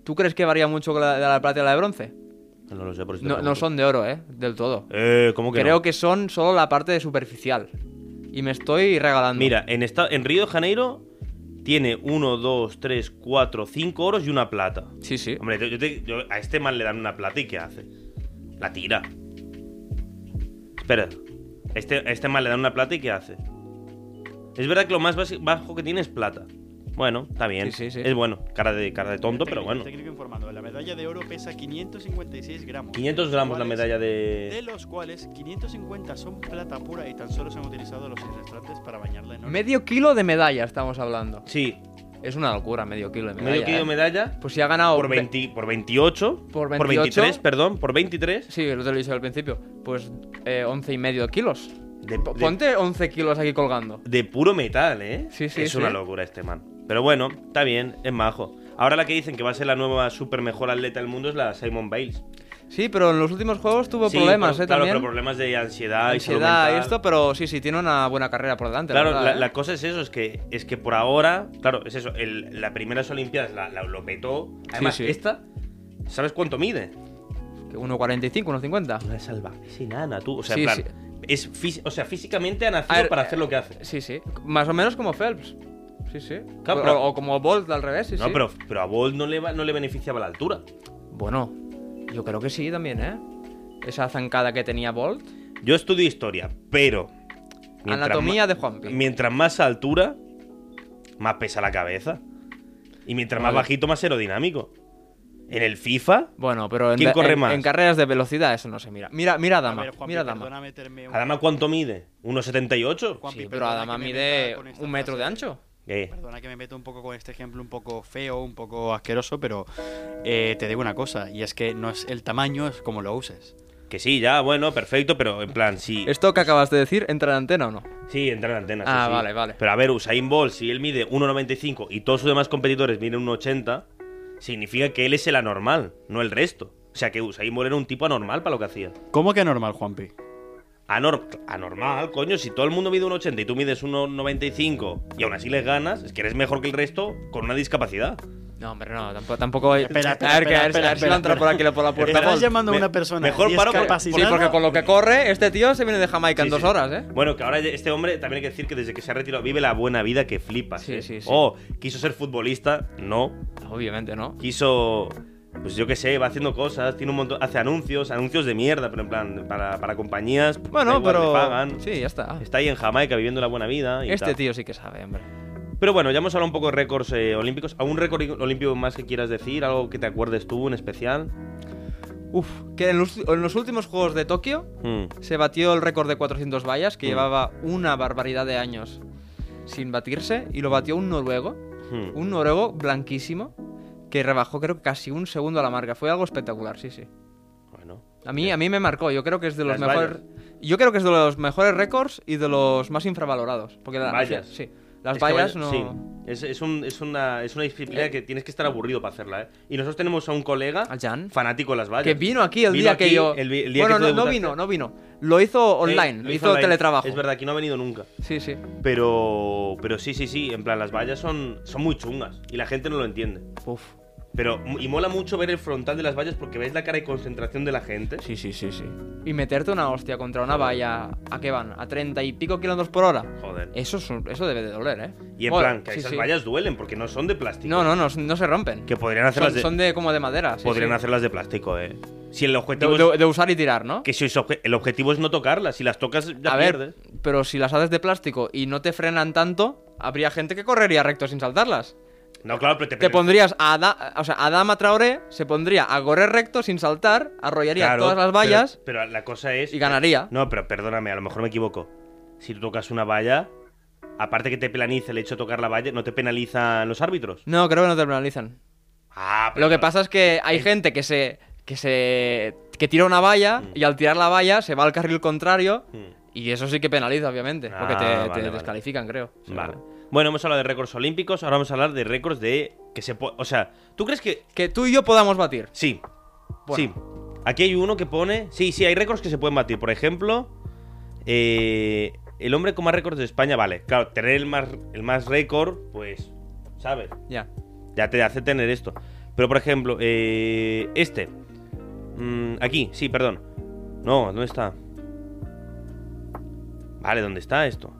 Speaker 3: ¿Tú crees que varía mucho con la de la plata y la de bronce?
Speaker 2: No lo sé, por si te
Speaker 3: No, no
Speaker 2: pregunto.
Speaker 3: son de oro, ¿eh? Del todo.
Speaker 2: Eh, ¿cómo que
Speaker 3: creo
Speaker 2: no?
Speaker 3: que son solo la parte de superficial. Y me estoy regalando.
Speaker 2: Mira, en, esta, en Río de Janeiro tiene 1, 2, 3, 4, 5 oros y una plata.
Speaker 3: Sí, sí.
Speaker 2: Hombre, yo- yo te- yo- a este man le dan una plata y ¿qué hace? La tira. Espera. Este, a este man le dan una plata y ¿qué hace? Es verdad que lo más basi- bajo que tiene es plata. Bueno, está bien.
Speaker 3: Sí, sí, sí.
Speaker 2: Es bueno. Cara de, cara de tonto, pero
Speaker 4: Técnico-
Speaker 2: bueno.
Speaker 4: Técnico informado. La medalla de oro pesa 556 gramos.
Speaker 2: 500
Speaker 4: de los
Speaker 2: gramos la
Speaker 4: cuales-
Speaker 2: medalla
Speaker 4: De
Speaker 2: de...
Speaker 4: los cuales 550 son plata pura y tan solo se han utilizado los restaurantes para bañarla en oro.
Speaker 3: Medio kilo de medalla estamos hablando.
Speaker 2: Sí,
Speaker 3: Es una locura, medio kilo de medalla.
Speaker 2: medio kilo de
Speaker 3: ¿eh?
Speaker 2: medalla.
Speaker 3: Pues si ha ganado.
Speaker 2: Por,
Speaker 3: ve-
Speaker 2: 20, por 28.
Speaker 3: Por
Speaker 2: 23,
Speaker 3: 28.
Speaker 2: perdón. Por 23.
Speaker 3: Sí, lo te lo dije al principio. Pues eh, 11 y medio kilos.
Speaker 2: De,
Speaker 3: Po-
Speaker 2: de-
Speaker 3: Ponte 11 kilos aquí colgando.
Speaker 2: de puro metal, ¿eh?
Speaker 3: Sí, sí,
Speaker 2: Es
Speaker 3: sí.
Speaker 2: una locura este man. Pero bueno, está bien, es majo. Ahora la que dicen que va a ser la nueva super mejor atleta del mundo es la Simon Bales.
Speaker 3: Sí, pero en los últimos juegos tuvo
Speaker 2: Sí,
Speaker 3: problemas,
Speaker 2: pero-
Speaker 3: ¿eh?
Speaker 2: Claro,
Speaker 3: también.
Speaker 2: pero problemas de ansiedad, y salud
Speaker 3: Ansiedad y
Speaker 2: mental.
Speaker 3: esto, pero sí, sí, tiene una buena carrera por delante.
Speaker 2: Claro,
Speaker 3: la,
Speaker 2: la,
Speaker 3: verdad, ¿eh?
Speaker 2: la cosa es eso, es que, es que por ahora, claro, es eso, el- la primera Olimpiadas la, la- lo petó. Además,
Speaker 3: sí.
Speaker 2: esta, ¿sabes cuánto mide?
Speaker 3: Que 1.45, 1.50.
Speaker 2: Una salvaje, es enana, tú. O sea,
Speaker 3: Sí,
Speaker 2: en plan,
Speaker 3: sí.
Speaker 2: es fí- o sea, físicamente ha
Speaker 3: A
Speaker 2: nacido
Speaker 3: ver,
Speaker 2: para
Speaker 3: eh,
Speaker 2: hacer lo que hace.
Speaker 3: Sí, sí. Más o menos como Phelps. Sí, sí.
Speaker 2: Claro,
Speaker 3: o,
Speaker 2: pero-
Speaker 3: o como Bolt al revés, sí,
Speaker 2: no,
Speaker 3: sí.
Speaker 2: pero, pero a Bolt no le, va- no le beneficiaba la altura.
Speaker 3: Bueno, yo creo que sí también, ¿eh? Esa zancada que tenía Bolt.
Speaker 2: Yo estudio historia, pero. mientras
Speaker 3: Anatomía
Speaker 2: ma-
Speaker 3: de Juanpi.
Speaker 2: Mientras más altura, más pesa la cabeza. Y mientras más
Speaker 3: Vale.
Speaker 2: bajito, más aerodinámico. En el FIFA,
Speaker 3: Bueno, pero en,
Speaker 2: ¿Quién
Speaker 3: de-
Speaker 2: corre
Speaker 3: en-
Speaker 2: más?
Speaker 3: en carreras de velocidad eso no se mira. Mira, mira a
Speaker 4: A
Speaker 3: Dama,
Speaker 4: ver, Juanpi,
Speaker 3: mira a Dama.
Speaker 4: perdona meterme un...
Speaker 2: Adama, ¿cuánto mide? ¿1,78?
Speaker 4: Juanpi,
Speaker 3: Sí, pero
Speaker 4: perdona
Speaker 3: Adama
Speaker 4: que me
Speaker 3: mide
Speaker 4: meta con esta
Speaker 3: un metro
Speaker 4: frase.
Speaker 3: de ancho.
Speaker 2: ¿Qué?
Speaker 4: Perdona que me meto un poco con este ejemplo un poco feo, un poco asqueroso, pero eh, te digo una cosa, y es que no es el tamaño, es como lo uses.
Speaker 2: Que sí, ya, bueno, perfecto, pero en plan, sí.
Speaker 3: ¿Esto que acabas de decir entra en antena o no?
Speaker 2: Sí, entra en la antena. sí,
Speaker 3: Ah,
Speaker 2: sí.
Speaker 3: vale, vale.
Speaker 2: Pero a ver, Usain Bolt, si él mide 1,95 y todos sus demás competidores miden 1,80, significa que él es el anormal, no el resto. O sea que Usain Bolt era un tipo anormal para lo que hacía.
Speaker 4: ¿Cómo que normal, Juanpi?
Speaker 2: Anor- anormal, coño. Si todo el mundo mide un 80 y tú mides 1,95 y aún así les ganas, es que eres mejor que el resto con una discapacidad.
Speaker 3: No, hombre, no, tampoco, tampoco hay...
Speaker 4: Espera, espera,
Speaker 3: a ver, que
Speaker 4: espera,
Speaker 3: a ver si- a
Speaker 4: espera,
Speaker 3: ver si no
Speaker 4: espera,
Speaker 3: entra por aquí por la puerta.
Speaker 4: Estás
Speaker 2: Perdón,
Speaker 4: llamando a
Speaker 2: me-
Speaker 4: una persona
Speaker 2: mejor paro porque-
Speaker 3: Sí,
Speaker 4: discapacitada.
Speaker 3: porque con lo que corre, este tío se viene de Jamaica en
Speaker 2: Sí,
Speaker 3: dos
Speaker 2: sí.
Speaker 3: horas, ¿eh?
Speaker 2: Bueno, que ahora ya- este hombre también hay que decir que desde que se ha retirado vive la buena vida que flipas.
Speaker 3: Sí,
Speaker 2: ¿eh?
Speaker 3: sí, sí.
Speaker 2: Oh, quiso ser futbolista, no.
Speaker 3: Obviamente, ¿no?
Speaker 2: Quiso, pues yo qué sé, va haciendo cosas, tiene un montón, hace anuncios, anuncios de mierda, pero en plan, para, para compañías, pues, da
Speaker 3: Bueno,
Speaker 2: igual,
Speaker 3: pero...
Speaker 2: le pagan.
Speaker 3: Sí, ya está.
Speaker 2: Está ahí en Jamaica viviendo la buena vida. Y
Speaker 3: Este
Speaker 2: tal.
Speaker 3: tío sí que sabe, hombre.
Speaker 2: Pero bueno, ya hemos hablado un poco de récords eh, olímpicos. ¿Algún récord olímpico más que quieras decir? ¿Algo que te acuerdes tú en especial?
Speaker 3: Uf, que en los, en los últimos Juegos de Tokio
Speaker 2: Hmm.
Speaker 3: se batió el récord de 400 vallas, que
Speaker 2: Mm.
Speaker 3: llevaba una barbaridad de años sin batirse, y lo batió un noruego,
Speaker 2: Hmm.
Speaker 3: un noruego blanquísimo, que rebajó creo que casi un segundo a la marca. Fue algo espectacular, sí, sí.
Speaker 2: Bueno.
Speaker 3: A mí, a mí me marcó, yo creo que es de los
Speaker 2: Las
Speaker 3: mejores... Yo creo que es de los mejores récords y de los más infravalorados. Porque la-
Speaker 2: Vallas.
Speaker 3: Sí, las
Speaker 2: Es que
Speaker 3: vallas
Speaker 2: vaya-
Speaker 3: no...
Speaker 2: sí. Es, es un- es una, es una disciplina
Speaker 3: Eh.
Speaker 2: que tienes que estar aburrido para hacerla, ¿eh? Y nosotros tenemos a un colega
Speaker 3: Al Jan.
Speaker 2: fanático de las vallas.
Speaker 3: Que vino aquí
Speaker 2: Ah,
Speaker 3: el
Speaker 2: Vino
Speaker 3: día que
Speaker 2: aquí
Speaker 3: yo...
Speaker 2: el vi- el día
Speaker 3: bueno,
Speaker 2: que
Speaker 3: no,
Speaker 2: tú
Speaker 3: no
Speaker 2: debutaste.
Speaker 3: vino, no vino. Lo hizo
Speaker 2: Eh,
Speaker 3: online, lo hizo,
Speaker 2: online.
Speaker 3: teletrabajo.
Speaker 2: Es verdad, aquí no ha venido nunca.
Speaker 3: Sí, sí.
Speaker 2: Pero, pero sí, sí, sí. En plan, las vallas son, son muy chungas y la gente no lo entiende.
Speaker 3: Uf.
Speaker 2: Pero, y mola mucho ver el frontal de las vallas porque ves la cara de concentración de la gente.
Speaker 3: Sí, sí, sí, sí. Y meterte una hostia contra una valla, ¿a qué van? ¿A 30 y pico kilómetros por hora?
Speaker 2: Joder.
Speaker 3: Eso, es un- eso debe de doler, ¿eh?
Speaker 2: Y en
Speaker 3: Joder,
Speaker 2: plan, que
Speaker 3: Eh, sí,
Speaker 2: esas
Speaker 3: sí.
Speaker 2: vallas duelen porque no son de plástico.
Speaker 3: No, no, no, no se rompen.
Speaker 2: Que podrían hacerlas
Speaker 3: Son,
Speaker 2: de,
Speaker 3: son de como de madera. sí,
Speaker 2: podrían
Speaker 3: sí.
Speaker 2: hacerlas de plástico, eh. Si el
Speaker 3: De,
Speaker 2: objetivo es,
Speaker 3: de- de usar y tirar, ¿no?
Speaker 2: que si es obje- el objetivo es no tocarlas, si las tocas ya
Speaker 3: a
Speaker 2: pierdes.
Speaker 3: ver, pero si las haces de plástico y no te frenan tanto, habría gente que correría recto sin saltarlas.
Speaker 2: No, claro, pero te,
Speaker 3: Te pondrías a, Ada- o sea, a Dama Traoré, se pondría a correr recto sin saltar, arrollaría
Speaker 2: claro,
Speaker 3: todas las
Speaker 2: pero-
Speaker 3: vallas
Speaker 2: Pero, la cosa es
Speaker 3: y ganaría.
Speaker 2: No, pero perdóname, a lo mejor me equivoco. Si tú tocas una valla, aparte que te penaliza el hecho de tocar la valla, no te penalizan los árbitros.
Speaker 3: No, creo que no te penalizan.
Speaker 2: Ah, pero
Speaker 3: Lo que pasa es que hay gente que se. que se. que tira una valla y al tirar la valla se va al carril contrario.
Speaker 2: Mm.
Speaker 3: Y eso sí que penaliza, obviamente. Porque
Speaker 2: Ah,
Speaker 3: te,
Speaker 2: vale,
Speaker 3: te
Speaker 2: vale.
Speaker 3: descalifican, creo. O sea,
Speaker 2: Vale. Bueno, hemos hablado de récords olímpicos, ahora vamos a hablar de récords de que se po- o sea, ¿tú crees que
Speaker 3: Que tú y yo podamos batir.
Speaker 2: Sí.
Speaker 3: Bueno.
Speaker 2: Sí. Aquí hay uno que pone. Sí, sí, hay récords que se pueden batir. Por ejemplo, eh, el hombre con más récords de España, vale. Claro, tener el más, el más récord, pues. ¿Sabes?
Speaker 3: Ya.
Speaker 2: Ya te hace tener esto. Pero por ejemplo, eh, este. Mm, aquí, sí, perdón. No, ¿dónde está? Vale, ¿dónde está esto?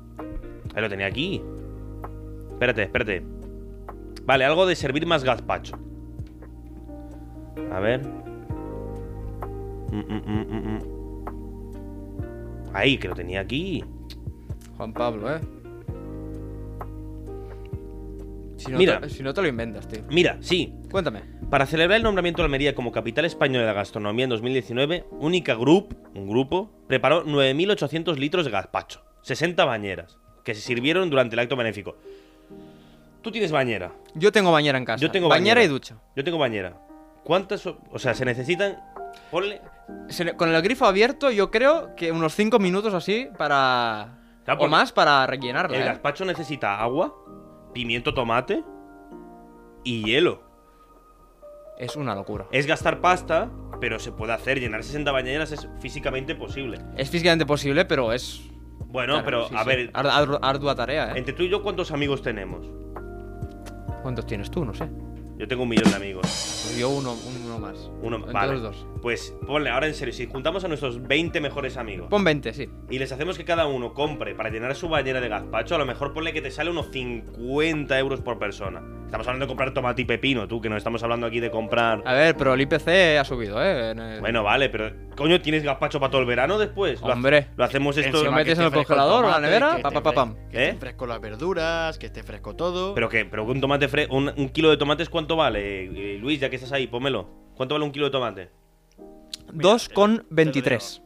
Speaker 2: Ahí lo tenía aquí. Espérate, espérate. Vale, algo de servir más gazpacho. A ver. Mm, mm, mm, mm, mm. Ahí, que lo tenía aquí.
Speaker 3: Juan Pablo, eh. Si no,
Speaker 2: Mira.
Speaker 3: Te, si no te lo inventas, tío.
Speaker 2: Mira, sí,
Speaker 3: Cuéntame.
Speaker 2: Para celebrar el nombramiento de Almería como capital española de la gastronomía en 2019, Única Group, un grupo, preparó 9.800 litros de gazpacho, 60 bañeras, que se sirvieron durante el acto benéfico. Tú tienes bañera,
Speaker 3: Yo tengo bañera en casa.
Speaker 2: yo tengo
Speaker 3: bañera.
Speaker 2: bañera.
Speaker 3: y ducha.
Speaker 2: Yo tengo bañera. ¿Cuántas? o- O sea, se necesitan. Ponle.
Speaker 3: Se le- con el grifo abierto, yo creo que unos 5 minutos así para.
Speaker 2: Claro,
Speaker 3: o
Speaker 2: porque
Speaker 3: más para rellenarla.
Speaker 2: El
Speaker 3: eh.
Speaker 2: gazpacho necesita agua, pimiento, tomate y hielo.
Speaker 3: Es una locura.
Speaker 2: Es gastar pasta, pero se puede hacer. Llenar 60 bañeras es físicamente posible.
Speaker 3: Es físicamente posible, pero es.
Speaker 2: Bueno,
Speaker 3: claro,
Speaker 2: pero
Speaker 3: sí,
Speaker 2: a
Speaker 3: sí.
Speaker 2: ver,
Speaker 3: Ar- ar- ardua tarea, ¿eh?
Speaker 2: entre tú y yo, ¿cuántos amigos tenemos?
Speaker 3: ¿Cuántos tienes tú? No sé.
Speaker 2: Yo tengo un millón de amigos.
Speaker 3: Pues yo uno, uno más.
Speaker 2: Uno
Speaker 3: Entre
Speaker 2: vale.
Speaker 3: los dos.
Speaker 2: Pues ponle, ahora en serio, si juntamos a nuestros 20 mejores amigos
Speaker 3: Pon 20, sí.
Speaker 2: y les hacemos que cada uno compre para llenar su bañera de gazpacho, a lo mejor ponle que te sale unos 50 euros por persona. Estamos hablando de comprar tomate y pepino, tú, que no estamos hablando aquí de comprar.
Speaker 3: A ver, pero el IPC ha subido, Ah, ¿eh? En el-
Speaker 2: Bueno, vale, pero coño, ¿tienes gazpacho para todo el verano después? Lo ha-
Speaker 3: Hombre.
Speaker 2: Lo, hacemos esto.
Speaker 3: lo metes en el
Speaker 4: fresco
Speaker 3: congelador o la
Speaker 4: tomate,
Speaker 3: nevera,
Speaker 4: que
Speaker 3: pa,
Speaker 4: esté
Speaker 3: pa, pa,
Speaker 4: fres-
Speaker 3: pam.
Speaker 4: Que esté
Speaker 2: ¿Eh?
Speaker 4: fresco las verduras, que esté fresco todo.
Speaker 2: Pero que, pero que un tomate fre un, un kilo de tomates, ¿cuánto vale? Eh, eh, Luis, ya que estás ahí, pómelo. ¿Cuánto vale un kilo de tomate?
Speaker 4: Mira,
Speaker 3: 2,23.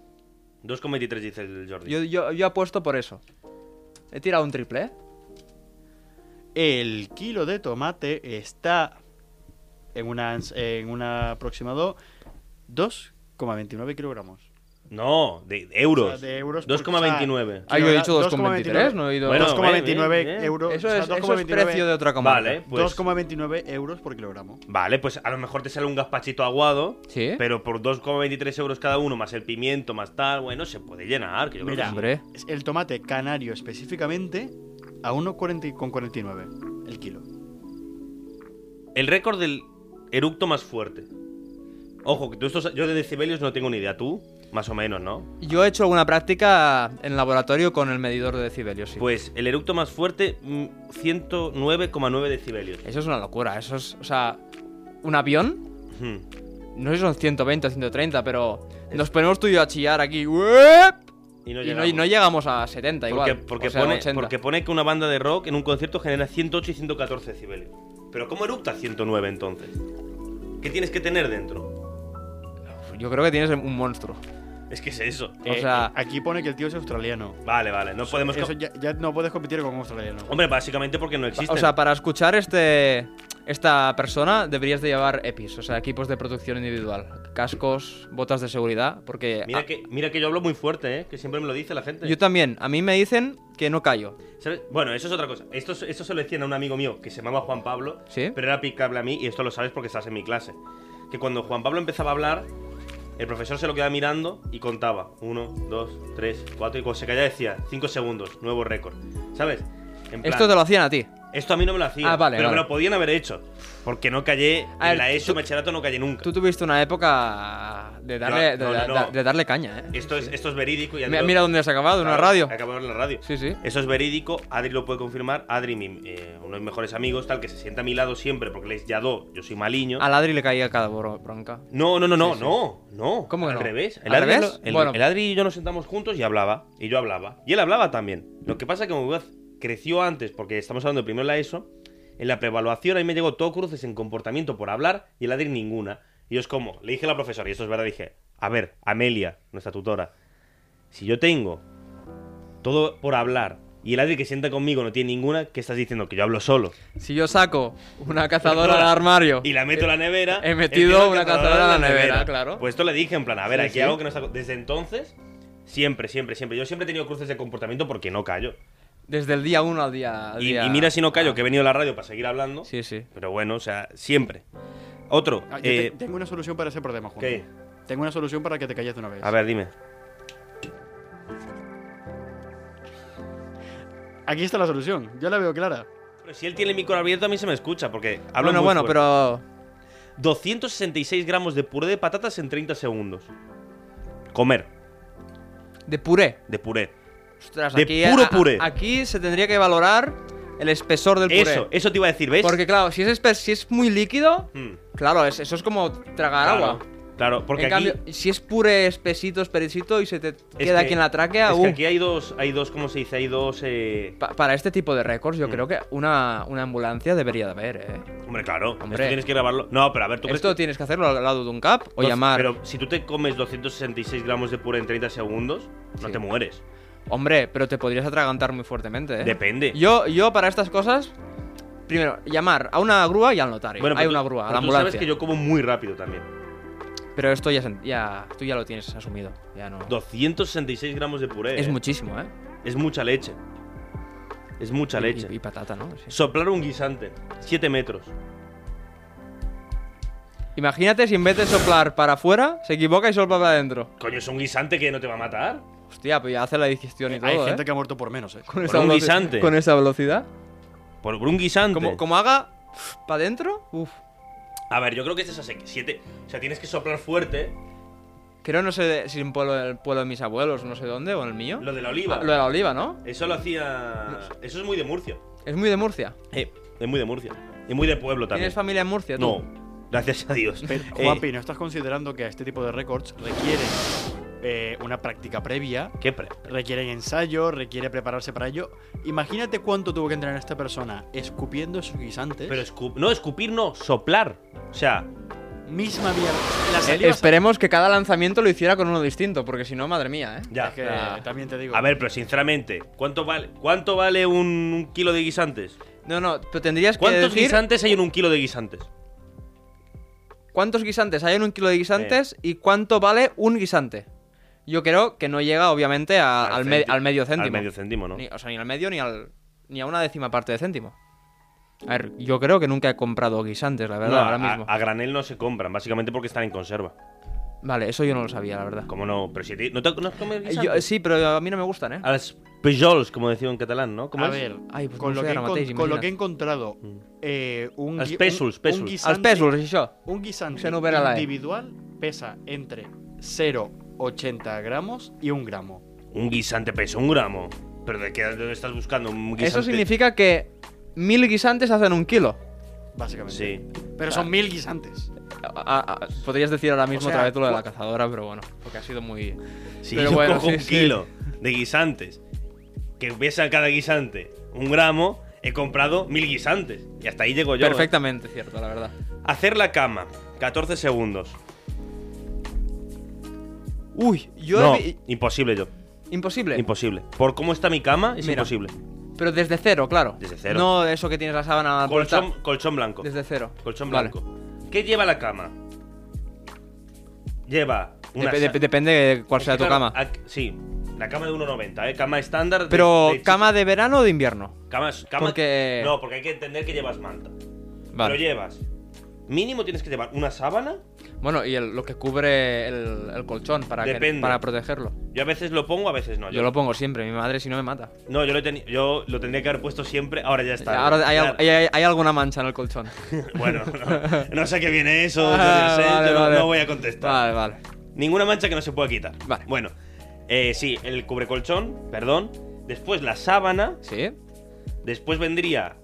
Speaker 2: 2,23 dice el Jordi.
Speaker 3: Yo, yo, yo apuesto por eso. He tirado un triple, ¿eh?
Speaker 4: El kilo de tomate está en una, ans- en una aproximado 2,29 kilogramos.
Speaker 2: No, de
Speaker 4: O
Speaker 2: euros.
Speaker 4: sea, de euros por-
Speaker 2: 2,29.
Speaker 3: Ah, yo he
Speaker 4: Kilogramo-
Speaker 3: dicho 2,23, no he ido.
Speaker 2: Bueno,
Speaker 4: 2,29
Speaker 2: bien, bien.
Speaker 4: euros.
Speaker 3: eso,
Speaker 4: o sea,
Speaker 3: es, eso es
Speaker 4: 2,29
Speaker 3: precio de otra comarca.
Speaker 2: Vale. pues.
Speaker 4: 2,29 euros por kilogramo.
Speaker 2: Vale, pues a lo mejor te sale un gazpachito aguado,
Speaker 3: Sí.
Speaker 2: pero por 2,23 euros cada uno, más el pimiento, más tal, bueno, se puede llenar. Que yo creo
Speaker 4: Mira,
Speaker 2: que sí.
Speaker 3: Hombre.
Speaker 4: el tomate canario específicamente a 1,49 el kilo.
Speaker 2: El récord del eructo más fuerte. Ojo, que tú estos, yo de decibelios no tengo ni idea. ¿Tú? Más o menos, ¿no?
Speaker 3: Yo he hecho alguna práctica en laboratorio con el medidor de decibelios, sí.
Speaker 2: Pues el eructo más fuerte, mm, 109,9 decibelios.
Speaker 3: Eso es una locura, eso es, o sea, un avión,
Speaker 2: Hmm.
Speaker 3: no sé si son 120 o 130, pero nos ponemos tú y yo a chillar aquí. ¡Uep!
Speaker 2: Y no
Speaker 3: Y no,
Speaker 2: llegamos.
Speaker 3: y no llegamos a 70
Speaker 2: Porque,
Speaker 3: igual.
Speaker 2: porque
Speaker 3: o sea,
Speaker 2: pone,
Speaker 3: 80.
Speaker 2: porque pone que una banda de rock en un concierto genera 108 y 114 decibelios. Pero ¿cómo eructa 109 entonces? ¿Qué tienes que tener dentro?
Speaker 3: Yo creo que tienes un monstruo.
Speaker 2: Es que es eso.
Speaker 3: O sea-
Speaker 4: Eh, aquí pone que el tío es australiano.
Speaker 2: Vale, vale, no podemos...
Speaker 4: Eso
Speaker 2: co-
Speaker 4: ya, ya no puedes competir con un australiano.
Speaker 2: Hombre, básicamente porque no existen.
Speaker 3: O sea, para escuchar este esta persona deberías de llevar EPIs, o sea, equipos de protección individual, cascos, botas de seguridad, porque
Speaker 2: mira,
Speaker 3: ah,
Speaker 2: que, mira que yo hablo muy fuerte, ¿eh? Que siempre me lo dice la gente.
Speaker 3: yo también, a mí me dicen que no callo.
Speaker 2: ¿Sabes? Bueno, eso es otra cosa. Esto, es- esto se lo decían a un amigo mío que se llamaba Juan Pablo,
Speaker 3: ¿Sí?
Speaker 2: pero era aplicable a mí, y esto lo sabes porque estás en mi clase. Que cuando Juan Pablo empezaba a hablar, el profesor se lo quedaba mirando y contaba. Uno, dos, tres, cuatro, y cuando se callaba decía, cinco segundos, nuevo récord. ¿Sabes? En plan,
Speaker 3: Esto te lo hacían a ti.
Speaker 2: esto a mí no me lo hacía,
Speaker 3: Ah, vale,
Speaker 2: pero
Speaker 3: vale.
Speaker 2: me lo podían haber hecho. Porque no callé,
Speaker 3: A ver,
Speaker 2: en la ESO,
Speaker 3: tú-
Speaker 2: bachillerato no callé nunca.
Speaker 3: Tú tuviste una época de darle,
Speaker 2: Yo- no,
Speaker 3: de,
Speaker 2: no,
Speaker 3: da-
Speaker 2: no.
Speaker 3: de darle caña, ¿eh?
Speaker 2: Esto es, esto es verídico y
Speaker 3: Mi-
Speaker 2: Adri lo-
Speaker 3: Mira dónde has acabado, en una radio.
Speaker 2: Acabo de ver la radio.
Speaker 3: Sí, sí.
Speaker 2: Eso es verídico, Adri lo puede confirmar. Adri, mi, eh, uno de mis mejores amigos, tal, que se sienta a mi lado siempre porque les yadó, yo soy maliño.
Speaker 3: A Ladri le caía cada bro- bronca.
Speaker 2: No, no, no, no, no, no.
Speaker 3: ¿Cómo que
Speaker 2: Al
Speaker 3: no?
Speaker 2: revés. El
Speaker 3: ¿Al
Speaker 2: Adri,
Speaker 3: revés?
Speaker 2: lo- el-
Speaker 3: Bueno.
Speaker 2: el Adri y yo nos sentamos juntos y hablaba. Y yo hablaba. Y él hablaba también. Lo que pasa es que como Muguez creció antes, porque estamos hablando de primero la ESO, en la preevaluación ahí me llegó todo cruces en comportamiento por hablar y el Adri ninguna. Y yo es como, le dije a la profesora, y esto es verdad, dije, a ver, Amelia, nuestra tutora, si yo tengo todo por hablar y el Adri que sienta conmigo no tiene ninguna, ¿qué estás diciendo? Que yo hablo solo.
Speaker 3: Si yo saco una cazadora del armario
Speaker 2: Y la meto en la nevera.
Speaker 3: He metido
Speaker 2: entiendo
Speaker 3: una
Speaker 2: que
Speaker 3: cazadora en la nevera, claro.
Speaker 2: Pues esto le dije en plan, a ver,
Speaker 3: Sí,
Speaker 2: aquí
Speaker 3: sí.
Speaker 2: algo que no está. co- Desde entonces, siempre, siempre, siempre. Yo siempre he tenido cruces de comportamiento porque no callo.
Speaker 3: desde el día 1 al día, al
Speaker 2: Y,
Speaker 3: día- Ah.
Speaker 2: y mira si no callo, que he venido a la radio para seguir hablando.
Speaker 3: Sí, sí.
Speaker 2: Pero bueno, o sea, siempre. Otro.
Speaker 4: Ah, yo
Speaker 2: eh,
Speaker 4: te- tengo una solución para ese problema, Juan.
Speaker 2: ¿Qué?
Speaker 4: Tengo una solución para que te calles de una vez.
Speaker 2: A ver, dime.
Speaker 4: Aquí está la solución. Yo la veo clara.
Speaker 2: Pero si él tiene el micro abierto, a mí se me escucha porque hablo
Speaker 3: Bueno,
Speaker 2: muy
Speaker 3: bueno,
Speaker 2: fuerte.
Speaker 3: pero
Speaker 2: 266 gramos de puré de patatas en 30 segundos. Comer,
Speaker 3: de puré.
Speaker 2: de puré.
Speaker 3: Ostras,
Speaker 2: De
Speaker 3: aquí,
Speaker 2: puro
Speaker 3: a-
Speaker 2: puré.
Speaker 3: aquí se tendría que valorar el espesor del puré.
Speaker 2: Eso, eso te iba a decir, ¿ves?
Speaker 3: Porque claro, si es, espe- si es muy líquido,
Speaker 2: Mm,
Speaker 3: claro, es- eso es como tragar
Speaker 2: claro,
Speaker 3: agua.
Speaker 2: Claro, porque
Speaker 3: en
Speaker 2: aquí.
Speaker 3: cambio, si es puré espesito, espesito y se te queda
Speaker 2: que-
Speaker 3: aquí en la tráquea,
Speaker 2: Es
Speaker 3: uh,
Speaker 2: que aquí hay dos, hay dos, ¿cómo se dice? Hay dos. eh,
Speaker 3: pa- para este tipo de récords yo
Speaker 2: Mm.
Speaker 3: creo que una, una ambulancia debería de haber, ¿eh?
Speaker 2: Hombre, claro.
Speaker 3: Hombre.
Speaker 2: Esto tienes que grabarlo. No, pero a ver, tú crees.
Speaker 3: Esto
Speaker 2: que-
Speaker 3: tienes que hacerlo al lado de un cap o
Speaker 2: dos-
Speaker 3: llamar.
Speaker 2: Pero si tú te comes 266 gramos de puré en 30 segundos, no
Speaker 3: Sí.
Speaker 2: te mueres.
Speaker 3: Hombre, pero te podrías atragantar muy fuertemente, ¿eh?
Speaker 2: Depende.
Speaker 3: Yo, yo para estas cosas, primero, llamar a una grúa y al notario.
Speaker 2: Bueno, pero
Speaker 3: Hay
Speaker 2: tú-
Speaker 3: una grúa, a
Speaker 2: pero
Speaker 3: la
Speaker 2: tú
Speaker 3: ambulancia.
Speaker 2: sabes que yo como muy rápido también.
Speaker 3: Pero esto ya, se- ya, tú ya lo tienes asumido. Ya no.
Speaker 2: 266 gramos de puré.
Speaker 3: Es
Speaker 2: ¿eh?
Speaker 3: muchísimo, ¿eh?
Speaker 2: Es mucha leche. Es mucha
Speaker 3: Y-
Speaker 2: leche.
Speaker 3: Y, y patata, ¿no? Sí.
Speaker 2: Soplar un guisante. 7 metros.
Speaker 3: Imagínate si en vez de soplar para afuera, se equivoca y sopla para adentro.
Speaker 2: Coño, es un guisante que no te va a matar.
Speaker 3: Hostia, pues ya hace la digestión y todo,
Speaker 4: Hay
Speaker 3: ¿eh?
Speaker 4: gente que ha muerto por menos, eh.
Speaker 3: con,
Speaker 2: Por
Speaker 3: esa
Speaker 2: un
Speaker 3: veloci-
Speaker 2: guisante.
Speaker 3: con esa velocidad.
Speaker 2: Por, por un guisante.
Speaker 3: Como, como haga para adentro, uff.
Speaker 2: A ver, yo creo que este es así. 7. O sea, tienes que soplar fuerte.
Speaker 3: Creo, no sé de- si en pueblo, el pueblo de mis abuelos, no sé dónde, o en el mío.
Speaker 2: Lo de la oliva.
Speaker 3: Ah, lo de la oliva, ¿no?
Speaker 2: Eso lo hacía. Eso es muy de Murcia.
Speaker 3: Es muy de Murcia.
Speaker 2: Eh, es muy de Murcia. Y muy de pueblo también.
Speaker 3: ¿Tienes familia en Murcia? tú?
Speaker 2: No, gracias a Dios.
Speaker 4: Pero,
Speaker 2: Eh,
Speaker 4: Juanpi, ¿no estás considerando que este tipo de récords requieren eh, una práctica previa?
Speaker 2: ¿Qué pre-
Speaker 4: Requieren ensayo, requiere prepararse para ello. Imagínate cuánto tuvo que entrenar esta persona escupiendo sus guisantes.
Speaker 2: Pero escu- no, escupir no, soplar. O sea,
Speaker 4: misma mierda. La
Speaker 3: Eh,
Speaker 4: saliva
Speaker 3: esperemos que cada lanzamiento lo hiciera con uno distinto, porque si no, madre mía, ¿eh?
Speaker 2: ya.
Speaker 4: Es que
Speaker 3: Ah.
Speaker 4: también te digo.
Speaker 2: A ver, pero sinceramente, ¿cuánto vale, cuánto vale un, un kilo de guisantes?
Speaker 3: No, no, pero tendrías que
Speaker 2: ¿Cuántos
Speaker 3: decir
Speaker 2: guisantes hay en un kilo de guisantes?
Speaker 3: cuántos guisantes hay en un kilo de
Speaker 2: Eh.
Speaker 3: guisantes y cuánto vale un guisante. Yo creo que no llega, obviamente, a- Ah, al, me-
Speaker 2: céntimo.
Speaker 3: al medio céntimo.
Speaker 2: Al medio céntimo, ¿no?
Speaker 3: Ni- o sea, ni al medio ni, al, ni a una décima parte de céntimo. A ver, yo creo que nunca he comprado guisantes, la verdad,
Speaker 2: No,
Speaker 3: ahora
Speaker 2: a-
Speaker 3: mismo.
Speaker 2: A, granel no se compran, básicamente porque están en conserva.
Speaker 3: Vale, eso yo no lo sabía, la verdad.
Speaker 2: ¿Cómo no? Pero si te- ¿No te no has comido
Speaker 3: Eh,
Speaker 2: guisante?
Speaker 3: yo- eh, sí, pero a mí no me gustan, ¿eh?
Speaker 2: A las pejols, como decimos en catalán, ¿no? ¿Cómo
Speaker 4: A
Speaker 2: es?
Speaker 4: ver,
Speaker 3: Ai, pues
Speaker 4: con,
Speaker 3: no
Speaker 4: lo
Speaker 3: sé
Speaker 4: que he
Speaker 3: ara
Speaker 4: encon-
Speaker 3: mateix,
Speaker 4: con lo que he
Speaker 3: imagina't.
Speaker 4: encontrado,
Speaker 2: Mm.
Speaker 4: eh, un,
Speaker 2: Els
Speaker 4: gui- un-
Speaker 2: pèsols,
Speaker 4: un
Speaker 2: pèsols. Els
Speaker 3: Els
Speaker 4: guisante-
Speaker 3: pèsols, és això.
Speaker 4: Un guisante
Speaker 3: Això no opera la E.
Speaker 4: individual pesa entre 0,80 gramos y un gramo.
Speaker 2: Un guisante pesa un gramo. ¿Pero de qué dónde estás buscando? Un guisante.
Speaker 3: Eso significa que mil guisantes hacen un kilo.
Speaker 4: Básicamente.
Speaker 2: Sí. Ah.
Speaker 4: Pero son mil guisantes.
Speaker 3: A- a- a- podrías decir ahora mismo
Speaker 4: sea,
Speaker 3: otra vez lo de la
Speaker 4: cua-
Speaker 3: cazadora, pero bueno, porque ha sido muy...
Speaker 2: Si
Speaker 3: Pero
Speaker 2: yo
Speaker 3: bueno,
Speaker 2: cojo
Speaker 3: sí,
Speaker 2: un
Speaker 3: sí.
Speaker 2: kilo de guisantes que pesa cada guisante un gramo, he comprado mil guisantes. Y hasta ahí llego yo. ¿eh?
Speaker 3: Perfectamente cierto, la verdad.
Speaker 2: Hacer la cama, 14 segundos.
Speaker 3: Uy, yo...
Speaker 2: no,
Speaker 3: he vi-
Speaker 2: imposible yo.
Speaker 3: Imposible.
Speaker 2: Imposible. Por cómo está mi cama, es
Speaker 3: Mira.
Speaker 2: imposible.
Speaker 3: pero desde cero, claro.
Speaker 2: Desde cero.
Speaker 3: No eso que tienes la sábana... puesta.
Speaker 2: Colchón, colchón blanco.
Speaker 3: Desde cero.
Speaker 2: Colchón
Speaker 3: Vale.
Speaker 2: blanco. ¿Qué lleva la cama? Lleva una.
Speaker 3: Dep-
Speaker 2: sa-
Speaker 3: dep- depende de cuál
Speaker 2: Es
Speaker 3: sea
Speaker 2: que
Speaker 3: tu
Speaker 2: claro,
Speaker 3: cama.
Speaker 2: ac- sí, la cama de 1,90, ¿eh? Cama estándar. de-
Speaker 3: Pero,
Speaker 2: de chica.
Speaker 3: ¿cama de verano o de invierno?
Speaker 2: Cama, cama-
Speaker 3: Porque-
Speaker 2: No, porque hay que entender que llevas manta.
Speaker 3: Vale.
Speaker 2: Pero llevas. Mínimo tienes que llevar una sábana.
Speaker 3: Bueno, y el- lo que cubre el, el colchón para, que-
Speaker 2: Depende.
Speaker 3: para protegerlo.
Speaker 2: Yo a veces lo pongo, a veces no.
Speaker 3: Yo lo pongo siempre, mi madre si no me mata.
Speaker 2: No, yo lo, he teni- yo lo tendría que haber puesto siempre. Ahora ya está.
Speaker 3: Ahora hay, al-
Speaker 2: Claro.
Speaker 3: hay- hay- hay alguna mancha en el colchón.
Speaker 2: Bueno, no, no sé qué viene eso. yo
Speaker 3: Ah,
Speaker 2: qué sé,
Speaker 3: vale,
Speaker 2: yo no-
Speaker 3: vale.
Speaker 2: no voy a contestar.
Speaker 3: Vale, vale.
Speaker 2: Ninguna mancha que no se pueda quitar.
Speaker 3: Vale.
Speaker 2: Bueno, eh, sí, el cubrecolchón, perdón. Después la sábana.
Speaker 3: Sí,
Speaker 2: Después vendría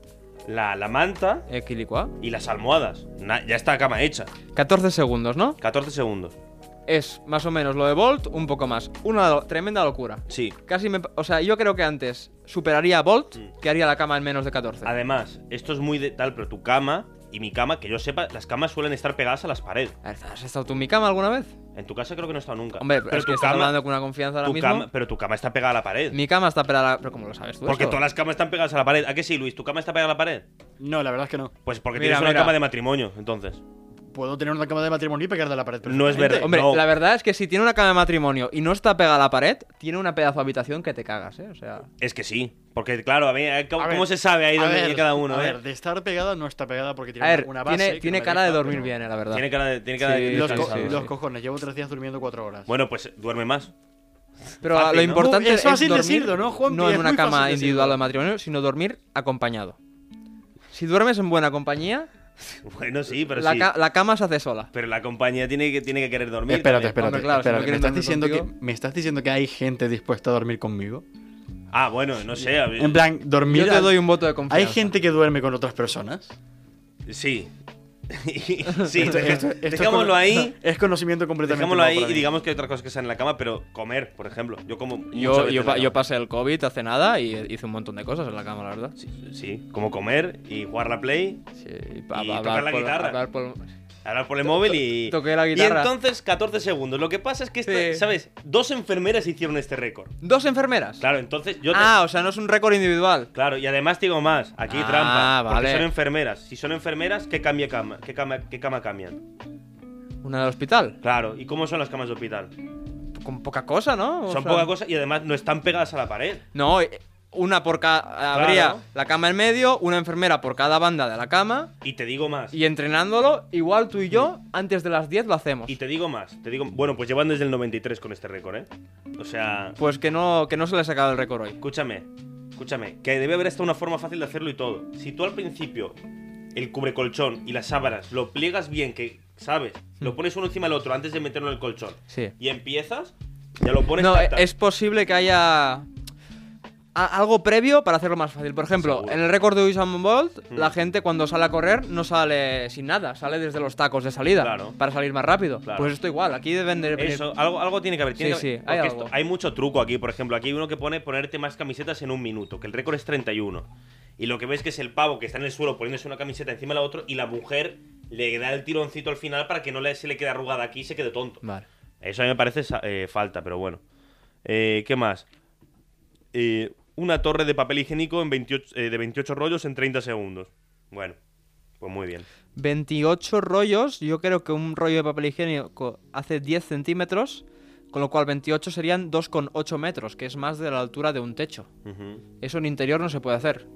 Speaker 2: la, la manta
Speaker 3: equilicua.
Speaker 2: y las almohadas. Na- ya está la cama hecha.
Speaker 3: 14 segundos, ¿no?
Speaker 2: 14 segundos.
Speaker 3: Es más o menos lo de Bolt, un poco más. Una lo- tremenda locura.
Speaker 2: Sí.
Speaker 3: Casi me. O sea, yo creo que antes superaría a Bolt
Speaker 2: Mm.
Speaker 3: que haría la cama en menos de 14.
Speaker 2: Además, esto es muy de tal, pero tu cama y mi cama, que yo sepa, las camas suelen estar pegadas a las paredes.
Speaker 3: A ver, ¿Has estado tú en mi cama alguna vez?
Speaker 2: En tu casa creo que no he estado nunca.
Speaker 3: Hombre, pero es que estás hablando con una confianza ahora
Speaker 2: tu
Speaker 3: mismo.
Speaker 2: cama- pero tu cama está pegada a la pared.
Speaker 3: Mi cama está pelada. Pero ¿cómo lo sabes tú?
Speaker 2: Porque
Speaker 3: esto?
Speaker 2: todas las camas están pegadas a la pared. ¿A qué sí, Luis? ¿Tu cama está pegada a la pared?
Speaker 4: No, la verdad es que no.
Speaker 2: Pues porque
Speaker 3: Mira,
Speaker 2: tienes una
Speaker 3: mira.
Speaker 2: cama de matrimonio, entonces.
Speaker 4: Puedo tener una cama de matrimonio y pegar de la pared.
Speaker 2: No es verdad.
Speaker 4: perfectamente.
Speaker 3: Hombre,
Speaker 2: No.
Speaker 3: la verdad es que si tiene una cama de matrimonio y no está pegada a la pared, tiene una pedazo de habitación que te cagas, ¿eh? O sea.
Speaker 2: Es que sí. Porque, claro, a mí, eh, ¿cómo,
Speaker 4: A ver,
Speaker 2: cómo se sabe ahí
Speaker 4: a
Speaker 2: dónde
Speaker 4: ver,
Speaker 2: viene cada uno?
Speaker 4: A
Speaker 2: eh?
Speaker 4: ver, de estar pegada no está pegada porque tiene
Speaker 3: A ver,
Speaker 4: una base.
Speaker 3: tiene,
Speaker 4: que
Speaker 3: tiene
Speaker 4: no
Speaker 3: cara de
Speaker 4: deja,
Speaker 3: dormir
Speaker 4: pero-
Speaker 3: bien, eh, la verdad.
Speaker 2: Tiene cara de. Tiene cara de-
Speaker 3: Sí,
Speaker 4: Los,
Speaker 3: sí,
Speaker 4: co-
Speaker 3: sí,
Speaker 4: los
Speaker 3: sí.
Speaker 4: cojones, llevo tres días durmiendo cuatro horas.
Speaker 2: Bueno, pues duerme más.
Speaker 3: Pero
Speaker 2: Fácil,
Speaker 3: lo
Speaker 2: ¿no?
Speaker 3: importante
Speaker 4: Es fácil
Speaker 3: dormir
Speaker 4: decirlo, ¿no, Juanpi?
Speaker 3: No en
Speaker 4: Es
Speaker 3: una
Speaker 4: muy
Speaker 3: cama
Speaker 4: fácil
Speaker 3: individual
Speaker 4: decirlo.
Speaker 3: de matrimonio, sino dormir acompañado. Si duermes en buena compañía,
Speaker 2: Bueno, sí, pero
Speaker 3: la,
Speaker 2: sí.
Speaker 3: ca- la cama se hace sola.
Speaker 2: Pero la compañía tiene que, tiene que querer dormir.
Speaker 4: Espérate,
Speaker 2: también.
Speaker 4: espérate.
Speaker 3: Hombre, claro, si
Speaker 4: espérate.
Speaker 3: no quieren
Speaker 4: ¿Me, estás
Speaker 3: dormir
Speaker 4: diciendo que,
Speaker 3: contigo.
Speaker 4: ¿Me estás diciendo que hay gente dispuesta a dormir conmigo?
Speaker 2: Ah, bueno, no sé. a ver-
Speaker 4: En plan, dormir.
Speaker 3: Yo te
Speaker 4: al-
Speaker 3: doy un voto de confianza.
Speaker 4: ¿Hay gente que duerme con otras personas?
Speaker 2: Sí. sí,
Speaker 4: Esto- esto- esto es
Speaker 2: dejámoslo
Speaker 4: cono-
Speaker 2: ahí.
Speaker 4: Es conocimiento completamente.
Speaker 2: Dejémoslo
Speaker 4: nuevo
Speaker 2: ahí
Speaker 4: para
Speaker 2: y
Speaker 4: mí.
Speaker 2: digamos que hay otras cosas que están en la cama, pero comer, por ejemplo. Yo como. muchas
Speaker 3: Yo,
Speaker 2: veces
Speaker 3: yo,
Speaker 2: en
Speaker 3: pa-
Speaker 2: la
Speaker 3: yo
Speaker 2: cama.
Speaker 3: pasé el COVID hace nada y hice un montón de cosas en la cama, la verdad.
Speaker 2: Sí, sí, como comer y jugar la play,
Speaker 3: Sí, pa-
Speaker 2: Y
Speaker 3: pa-
Speaker 2: tocar la
Speaker 3: por-
Speaker 2: guitarra.
Speaker 3: hablar por-
Speaker 2: hablar por el móvil y.
Speaker 3: toqué la guitarra.
Speaker 2: Y entonces 14 segundos. Lo que pasa es que, esto-
Speaker 3: Sí.
Speaker 2: ¿sabes? Dos enfermeras hicieron este récord.
Speaker 3: ¿Dos enfermeras?
Speaker 2: Claro, entonces yo. te-
Speaker 3: Ah, o sea, no es un récord individual.
Speaker 2: Claro, y además te digo más, aquí hay
Speaker 3: Ah,
Speaker 2: trampa, porque
Speaker 3: vale.
Speaker 2: son enfermeras. Si son enfermeras, ¿qué cambia cama? ¿Qué cama, qué cama cambian?
Speaker 3: Una del hospital.
Speaker 2: Claro, ¿y cómo son las camas de hospital?
Speaker 3: Con poca cosa, ¿no? O
Speaker 2: Son
Speaker 3: sea,
Speaker 2: poca cosa y además no están pegadas a la pared.
Speaker 3: No, eh, una por cada. Habría la cama en medio, una enfermera por cada banda de la cama.
Speaker 2: Y te digo más.
Speaker 3: Y entrenándolo, igual tú y yo, antes de las 10 lo hacemos.
Speaker 2: Y te digo más, te digo, bueno, pues llevan desde el 93 con este récord, ¿eh? O sea,
Speaker 3: Pues que no, que no se le ha sacado el récord hoy.
Speaker 2: escúchame, escúchame, que debe haber hasta una forma fácil de hacerlo y todo. Si tú al principio el cubrecolchón y las sábanas lo pliegas bien, que sabes, lo pones uno encima del otro antes de meterlo en el colchón
Speaker 3: Mm. Sí.
Speaker 2: y empiezas, ya lo pones
Speaker 3: No,
Speaker 2: tac, tac.
Speaker 3: es posible que haya a- algo previo para hacerlo más fácil. Por ejemplo,
Speaker 2: Seguro.
Speaker 3: en el récord de Usain Bolt,
Speaker 2: Mm.
Speaker 3: la gente cuando sale a correr no sale sin nada, sale desde los tacos de salida
Speaker 2: Claro.
Speaker 3: para salir más rápido.
Speaker 2: Claro.
Speaker 3: Pues esto igual, aquí deben de venir-
Speaker 2: Eso, algo, algo tiene que haber. tiene
Speaker 3: Eh, Sí,
Speaker 2: que haber-
Speaker 3: sí,
Speaker 2: porque
Speaker 3: hay
Speaker 2: esto-
Speaker 3: algo.
Speaker 2: hay mucho truco aquí, por ejemplo. Aquí hay uno que pone ponerte más camisetas en un minuto, que el récord es 31. Y lo que ves que es el pavo que está en el suelo poniéndose una camiseta encima de la otra y la mujer le da el tironcito al final para que no le, se le quede arrugada aquí y se quede tonto.
Speaker 3: Vale.
Speaker 2: Eso a mí me parece sa- eh, falta, pero bueno. Eh, ¿Qué más? Eh, una torre de papel higiénico en 28, eh, de 28 rollos en 30 segundos. Bueno, pues muy bien.
Speaker 3: 28 rollos, yo creo que un rollo de papel higiénico hace 10 centímetros, con lo cual 28 serían 2,8 metros, que es más de la altura de un techo.
Speaker 2: Ujú.
Speaker 3: Eso en interior no se puede hacer,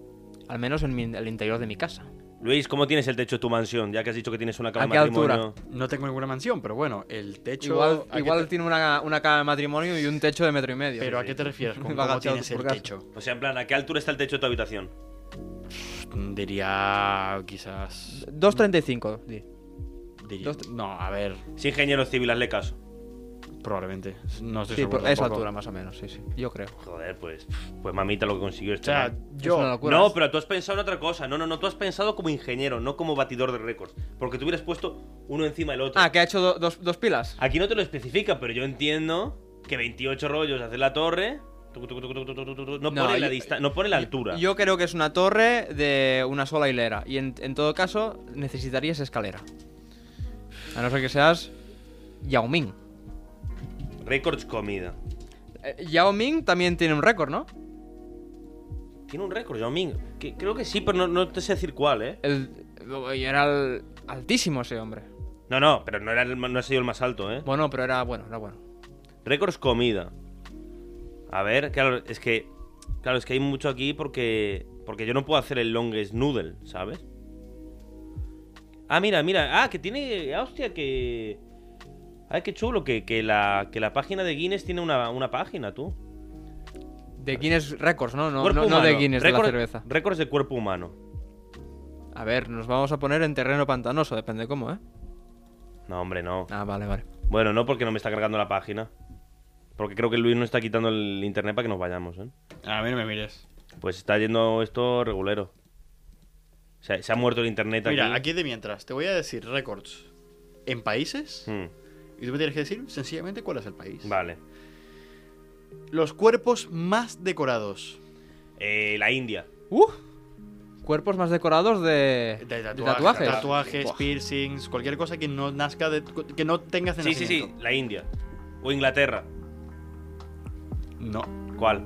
Speaker 3: al menos en mi- el interior de mi casa.
Speaker 2: Luis, ¿cómo tienes el techo de tu mansión? Ya que has dicho que tienes una cama
Speaker 3: ¿A
Speaker 2: de
Speaker 3: qué altura?
Speaker 2: matrimonio.
Speaker 4: No tengo ninguna mansión, pero bueno, el techo.
Speaker 3: Igual,
Speaker 4: ¿a qué
Speaker 3: igual
Speaker 4: te-
Speaker 3: tiene una, una cama de matrimonio y un techo de metro y medio.
Speaker 4: Pero ¿a qué te refieres con
Speaker 3: Va
Speaker 4: cómo
Speaker 3: agachado
Speaker 4: tienes
Speaker 3: por
Speaker 4: el
Speaker 3: casa.
Speaker 4: techo?
Speaker 2: O sea, en plan, ¿a qué altura está el techo de tu habitación?
Speaker 4: Diría quizás.
Speaker 3: 2.35, di.
Speaker 4: diría-
Speaker 3: Dos-
Speaker 4: no, a ver,
Speaker 2: Si ingeniero civil, hazle caso.
Speaker 4: probablemente. No estoy
Speaker 3: Sí,
Speaker 4: seguro
Speaker 3: por- a esa
Speaker 4: tampoco.
Speaker 3: altura más o menos, sí, sí. Yo creo.
Speaker 2: Joder, pues, pues mamita lo que consiguió
Speaker 4: O
Speaker 2: este.
Speaker 4: sea,
Speaker 2: man.
Speaker 3: Es una
Speaker 4: yo.
Speaker 3: locura.
Speaker 2: No, pero tú has pensado en otra cosa. No, no, no. Tú has pensado como ingeniero, no como batidor de récords. Porque tú hubieras puesto uno encima del otro.
Speaker 3: Ah, que ha hecho do- dos, dos pilas.
Speaker 2: Aquí no te lo especifica, pero yo entiendo que 28 rollos hace la torre. tucu, tucu, tucu, tucu, tucu, tucu, No,
Speaker 3: No,
Speaker 2: pone la
Speaker 3: yo-
Speaker 2: dista- no pone la altura.
Speaker 3: Yo creo que es una torre de una sola hilera. Y en, en todo caso, necesitarías escalera. A no ser que seas Yao Ming.
Speaker 2: Récords comida.
Speaker 3: Eh, Yao Ming también tiene un récord, ¿no?
Speaker 2: Tiene un récord, Yao Ming. Que- creo que sí, pero no, no te sé decir cuál, ¿eh?
Speaker 3: El, y era el- altísimo ese hombre.
Speaker 2: No, no, pero no, era el ma- no ha sido el más alto, ¿eh?
Speaker 3: Bueno, pero era bueno, era bueno.
Speaker 2: Récords comida. A ver, claro, es que. Claro, es que hay mucho aquí porque. Porque yo no puedo hacer el longest noodle, ¿sabes? Ah, mira, mira. Ah, que tiene. Ah, hostia, que. Ay, qué chulo, que, que la, que la página de Guinness tiene una, una página, tú.
Speaker 3: De Guinness Records, ¿no? No,
Speaker 2: Cuerpo
Speaker 3: no- no de
Speaker 2: humano.
Speaker 3: Guinness,
Speaker 2: Récord-
Speaker 3: de la cerveza.
Speaker 2: Récords de cuerpo humano.
Speaker 3: A ver, nos vamos a poner en terreno pantanoso, depende cómo, ¿eh?
Speaker 2: No, hombre, no.
Speaker 3: Ah, vale, vale.
Speaker 2: Bueno, no, porque no me está cargando la página. Porque creo que Luis no está quitando el internet para que nos vayamos, ¿eh?
Speaker 4: A mí no me mires.
Speaker 2: Pues está yendo esto regulero. O sea, se ha muerto el internet
Speaker 4: Mira, aquí de mientras, te voy a decir récords en países
Speaker 2: Mm,
Speaker 4: y tú me tienes que decir sencillamente cuál es el país.
Speaker 2: vale.
Speaker 4: Los cuerpos más decorados.
Speaker 2: Eh, la India.
Speaker 3: ¡Uh! Cuerpos más decorados de,
Speaker 4: De tatuajes.
Speaker 3: tatuajes. Buah.
Speaker 4: piercings, cualquier cosa que no nazca de, que no tengas de
Speaker 2: Sí, sí, sí,
Speaker 4: nacimiento.
Speaker 2: la India. O Inglaterra.
Speaker 4: No.
Speaker 2: ¿Cuál?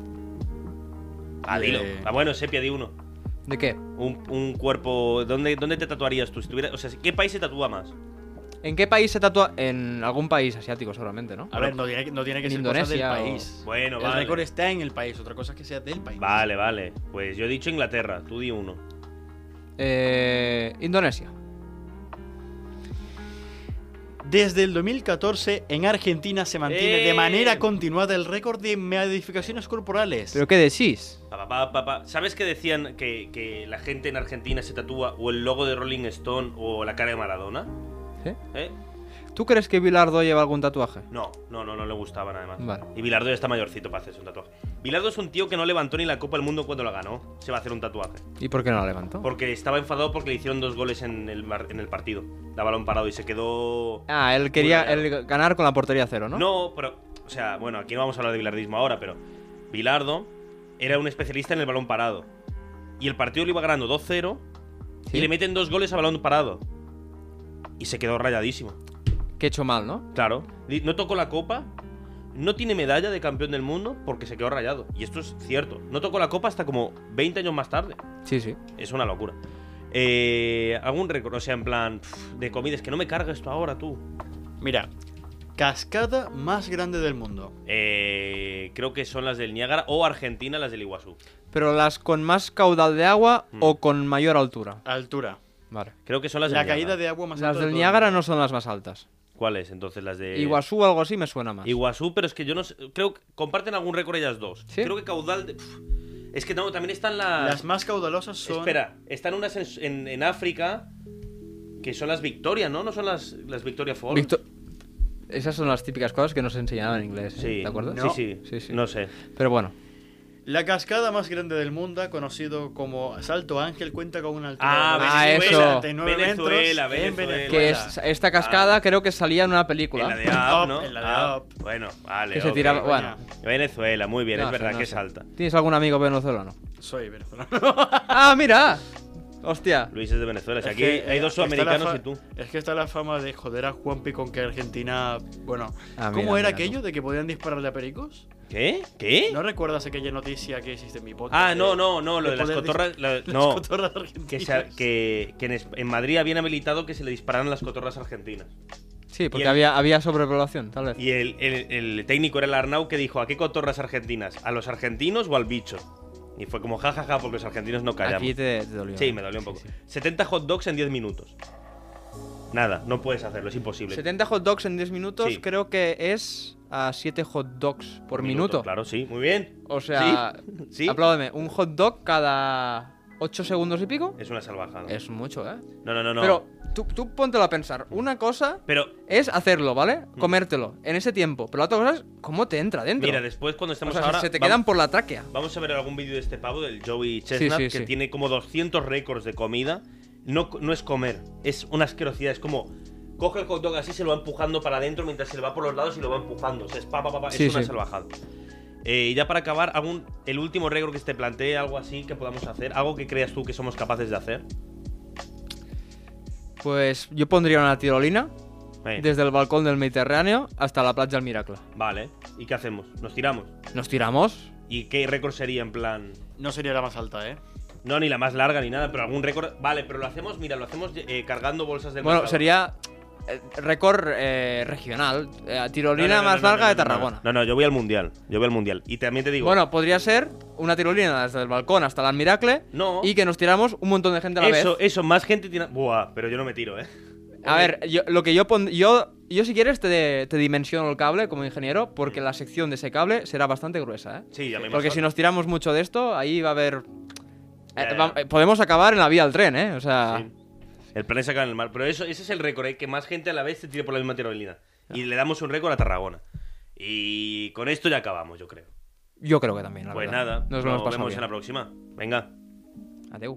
Speaker 2: Ah, dilo.
Speaker 4: Eh.
Speaker 2: Ah, bueno, sepia, di uno.
Speaker 3: ¿De qué?
Speaker 2: Un, un cuerpo. ¿Dónde, ¿Dónde te tatuarías tú? Si tuviera- o sea, ¿qué país se tatúa más?
Speaker 3: ¿En qué país se tatúa? En algún país asiático, seguramente, ¿no?
Speaker 4: A ver, no tiene, que- no tiene que
Speaker 3: En
Speaker 4: ser
Speaker 3: Indonesia
Speaker 4: cosa
Speaker 3: o-
Speaker 4: del país.
Speaker 2: Bueno,
Speaker 4: el
Speaker 2: vale.
Speaker 4: récord está en el país, otra cosa es que sea del país.
Speaker 2: Vale, vale. Pues yo he dicho Inglaterra, tú di uno.
Speaker 3: Eh, Indonesia.
Speaker 4: Desde el 2014 en Argentina se mantiene
Speaker 2: ¡Eh!
Speaker 4: de manera continuada el récord de modificaciones corporales.
Speaker 3: ¿Pero qué decís?
Speaker 2: Pa, pa, pa, pa, pa. ¿Sabes que decían que, que la gente en Argentina se tatúa o el logo de Rolling Stone o la cara de Maradona?
Speaker 3: ¿Eh?
Speaker 2: ¿Eh?
Speaker 3: ¿Tú crees que Bilardo lleva algún tatuaje?
Speaker 2: No, no, no, no le gustaban además.
Speaker 3: Vale.
Speaker 2: Y Bilardo ya está mayorcito para hacerse un tatuaje. Bilardo es un tío que no levantó ni la Copa del Mundo cuando la ganó. Se va a hacer un tatuaje.
Speaker 3: ¿Y por qué no la levantó?
Speaker 2: Porque estaba enfadado porque le hicieron dos goles en el, mar- en el partido. Da balón parado y se quedó.
Speaker 3: Ah, él quería
Speaker 2: Muy
Speaker 3: el ganar con la portería cero, ¿no?
Speaker 2: ¿No? pero. O sea, bueno, aquí no vamos a hablar de bilardismo ahora, pero. Bilardo era un especialista en el balón parado. Y el partido lo iba ganando 2-0.
Speaker 3: Sí.
Speaker 2: Y le meten dos goles a balón parado. Y se quedó rayadísimo.
Speaker 3: Que he hecho mal, ¿no?
Speaker 2: Claro. Di- No tocó la copa. No tiene medalla de campeón del mundo porque se quedó rayado. Y esto es cierto. No tocó la copa hasta como 20 años más tarde.
Speaker 3: Sí, sí.
Speaker 2: Es una locura. Eh, algún récord, o sea, en plan pf, de comida. Es que no me cargues esto ahora, tú.
Speaker 4: Mira, cascada más grande del mundo.
Speaker 2: Eh, creo que son las del Niágara o Argentina, las del Iguazú.
Speaker 3: Pero las con más caudal de agua
Speaker 2: Mm.
Speaker 3: o con mayor altura.
Speaker 4: Altura.
Speaker 3: Vale.
Speaker 2: Creo que son las del
Speaker 4: La
Speaker 2: Niágara.
Speaker 4: caída de agua más
Speaker 3: Las
Speaker 4: alta de
Speaker 3: del
Speaker 4: todo el
Speaker 3: Niágara
Speaker 4: mundo.
Speaker 3: no son las más altas.
Speaker 2: ¿Cuáles? Entonces las de.
Speaker 3: Iguazú o algo así me suena más.
Speaker 2: Eh, Iguazú, pero es que yo no sé. Creo que comparten algún récord ellas dos.
Speaker 3: ¿Sí?
Speaker 2: Creo que caudal. de- pf, es que no, también están las.
Speaker 4: Las más caudalosas son.
Speaker 2: Espera, están unas en, en- en África que son las Victoria, ¿no? No son las, las Victoria Falls.
Speaker 3: Victo- Esas son las típicas cosas que nos enseñaban en inglés, ¿eh?
Speaker 2: Sí,
Speaker 3: ¿te acuerdas?
Speaker 2: Sí, sí,
Speaker 3: sí, sí.
Speaker 2: No sé.
Speaker 3: Pero bueno,
Speaker 4: La cascada más grande del mundo, conocido como Salto Ángel, cuenta con una altura
Speaker 2: Ah,
Speaker 3: Ah,
Speaker 4: de
Speaker 3: eso.
Speaker 4: 69 metros
Speaker 2: Venezuela,
Speaker 4: en
Speaker 2: Venezuela.
Speaker 3: que
Speaker 4: Venezuela.
Speaker 3: es- esta cascada
Speaker 2: Ah.
Speaker 3: creo que salía en una película.
Speaker 2: En la de Up,
Speaker 4: Up,
Speaker 2: ¿no? Ah,
Speaker 4: en la de Up.
Speaker 2: Bueno, vale.
Speaker 3: que se
Speaker 2: ok.
Speaker 3: tiraba.
Speaker 4: coño.
Speaker 3: Bueno,
Speaker 2: Venezuela, muy bien,
Speaker 3: No
Speaker 2: es
Speaker 3: sé,
Speaker 2: verdad
Speaker 3: no
Speaker 2: que
Speaker 3: sé.
Speaker 2: salta.
Speaker 3: ¿Tienes algún amigo venezolano?
Speaker 4: Soy venezolano.
Speaker 3: ¡Ah, mira! ¡Hostia!
Speaker 2: Luis es de Venezuela, o sea,
Speaker 4: Es
Speaker 2: Pues aquí
Speaker 4: que,
Speaker 2: hay dos
Speaker 4: eh, está la
Speaker 2: sudamericanos
Speaker 4: fa-
Speaker 2: y tú.
Speaker 4: Es que está la fama de joder a Juanpi con que Argentina. Bueno,
Speaker 3: Ah,
Speaker 4: ¿cómo
Speaker 3: mira, mira
Speaker 4: era aquello
Speaker 3: tú.
Speaker 4: de que podían dispararle a pericos?
Speaker 2: ¿Qué? ¿Qué?
Speaker 4: ¿No recuerdas aquella noticia que hiciste en mi podcast?
Speaker 2: ah,
Speaker 4: de-
Speaker 2: no, no, no, lo de
Speaker 4: de
Speaker 2: las
Speaker 4: poder
Speaker 2: cotorras. la-
Speaker 4: las
Speaker 2: no,
Speaker 4: cotorras
Speaker 2: que, se-
Speaker 4: argentinas.
Speaker 2: que, que en, es- en Madrid habían habilitado que se le dispararan las cotorras argentinas.
Speaker 3: Sí, porque
Speaker 2: el-
Speaker 3: había, había sobrepoblación, tal vez.
Speaker 2: Y el, el- el técnico era el Arnau que dijo: ¿A qué cotorras argentinas? ¿A los argentinos o al bicho? Y fue como jajaja, porque los argentinos no callamos.
Speaker 3: Aquí te, te dolió.
Speaker 2: Sí, me dolió un poco.
Speaker 3: sí.
Speaker 2: 70 hot dogs en 10 minutos. Nada, no puedes hacerlo, es imposible.
Speaker 3: 70 hot dogs en 10 minutos,
Speaker 2: Sí.
Speaker 3: creo que es a 7 hot dogs por minuto.
Speaker 2: Claro, sí, muy bien.
Speaker 3: O sea,
Speaker 2: Sí, sí.
Speaker 3: apláudeme, un hot dog cada 8 segundos y pico
Speaker 2: Es una salvajada.
Speaker 3: es mucho, ¿eh?
Speaker 2: No, no, no, no.
Speaker 3: Pero tú, tú póntelo a pensar. Una cosa
Speaker 2: Pero,
Speaker 3: es hacerlo, ¿vale?
Speaker 2: Mm.
Speaker 3: Comértelo en ese tiempo. Pero la otra cosa es cómo te entra dentro.
Speaker 2: mira, después cuando
Speaker 3: O
Speaker 2: estemos
Speaker 3: sea,
Speaker 2: ahora.
Speaker 3: se te
Speaker 2: vam-
Speaker 3: quedan por la tráquea.
Speaker 2: Vamos a ver algún vídeo de este pavo, del Joey Chestnut,
Speaker 3: sí,
Speaker 2: que
Speaker 3: sí.
Speaker 2: tiene como 200 récords de comida. No, no es comer, es una asquerosidad. Es como coge el hot dog así, se lo va empujando para adentro mientras se le va por los lados y lo va empujando. O sea, es, pa, pa, pa, pa, es
Speaker 3: Sí,
Speaker 2: una
Speaker 3: sí.
Speaker 2: salvajada. Eh, y ya para acabar, algún, el último récord que te plantee, algo así que podamos hacer, algo que creas tú que somos capaces de hacer.
Speaker 3: Pues yo pondría una tirolina
Speaker 2: Eh,
Speaker 3: desde el balcón del Mediterráneo hasta la playa del Miracle.
Speaker 2: Vale, ¿y qué hacemos? ¿Nos tiramos?
Speaker 3: Nos tiramos.
Speaker 2: ¿Y qué récord sería en plan?
Speaker 4: No sería la más alta, ¿eh?
Speaker 2: No, ni la más larga ni nada, pero algún récord. Vale, pero lo hacemos, mira, lo hacemos eh, cargando bolsas del
Speaker 3: bueno,
Speaker 2: mercado.
Speaker 3: sería eh, récord eh, regional. eh, tirolina
Speaker 2: No, no, no, no,
Speaker 3: más
Speaker 2: no,
Speaker 3: larga
Speaker 2: no,
Speaker 3: de
Speaker 2: no, no.
Speaker 3: Tarragona.
Speaker 2: No, no, yo voy al mundial. Yo voy al mundial. Y también te digo.
Speaker 3: Bueno, podría ser una tirolina desde el balcón hasta el Miracle
Speaker 2: No.
Speaker 3: y que nos tiramos un montón de gente a la
Speaker 2: eso,
Speaker 3: vez.
Speaker 2: eso, más gente tiene. Buah, pero yo no me tiro, ¿eh?
Speaker 3: A ver, yo, lo que yo pon- yo yo si quieres te, te dimensiono el cable como ingeniero porque la sección de ese cable será bastante gruesa, ¿eh?
Speaker 2: Sí, ya me
Speaker 3: Porque
Speaker 2: imagino.
Speaker 3: si nos tiramos mucho de esto, ahí va a haber
Speaker 2: Ya,
Speaker 3: eh,
Speaker 2: ya.
Speaker 3: va- eh, podemos acabar en la vía del tren, ¿eh? O sea,
Speaker 2: Sí. El plan es sacar en el mar. Pero eso, ese es el récord, ¿eh? que más gente a la vez se tire por la misma tirolina. Y le damos un récord a Tarragona. Y con esto ya acabamos, yo creo.
Speaker 3: yo creo que también, la
Speaker 2: pues
Speaker 3: verdad.
Speaker 2: nada,
Speaker 3: Nos lo hemos pasado
Speaker 2: vemos
Speaker 3: bien.
Speaker 2: en la próxima. Venga.
Speaker 3: Adeu.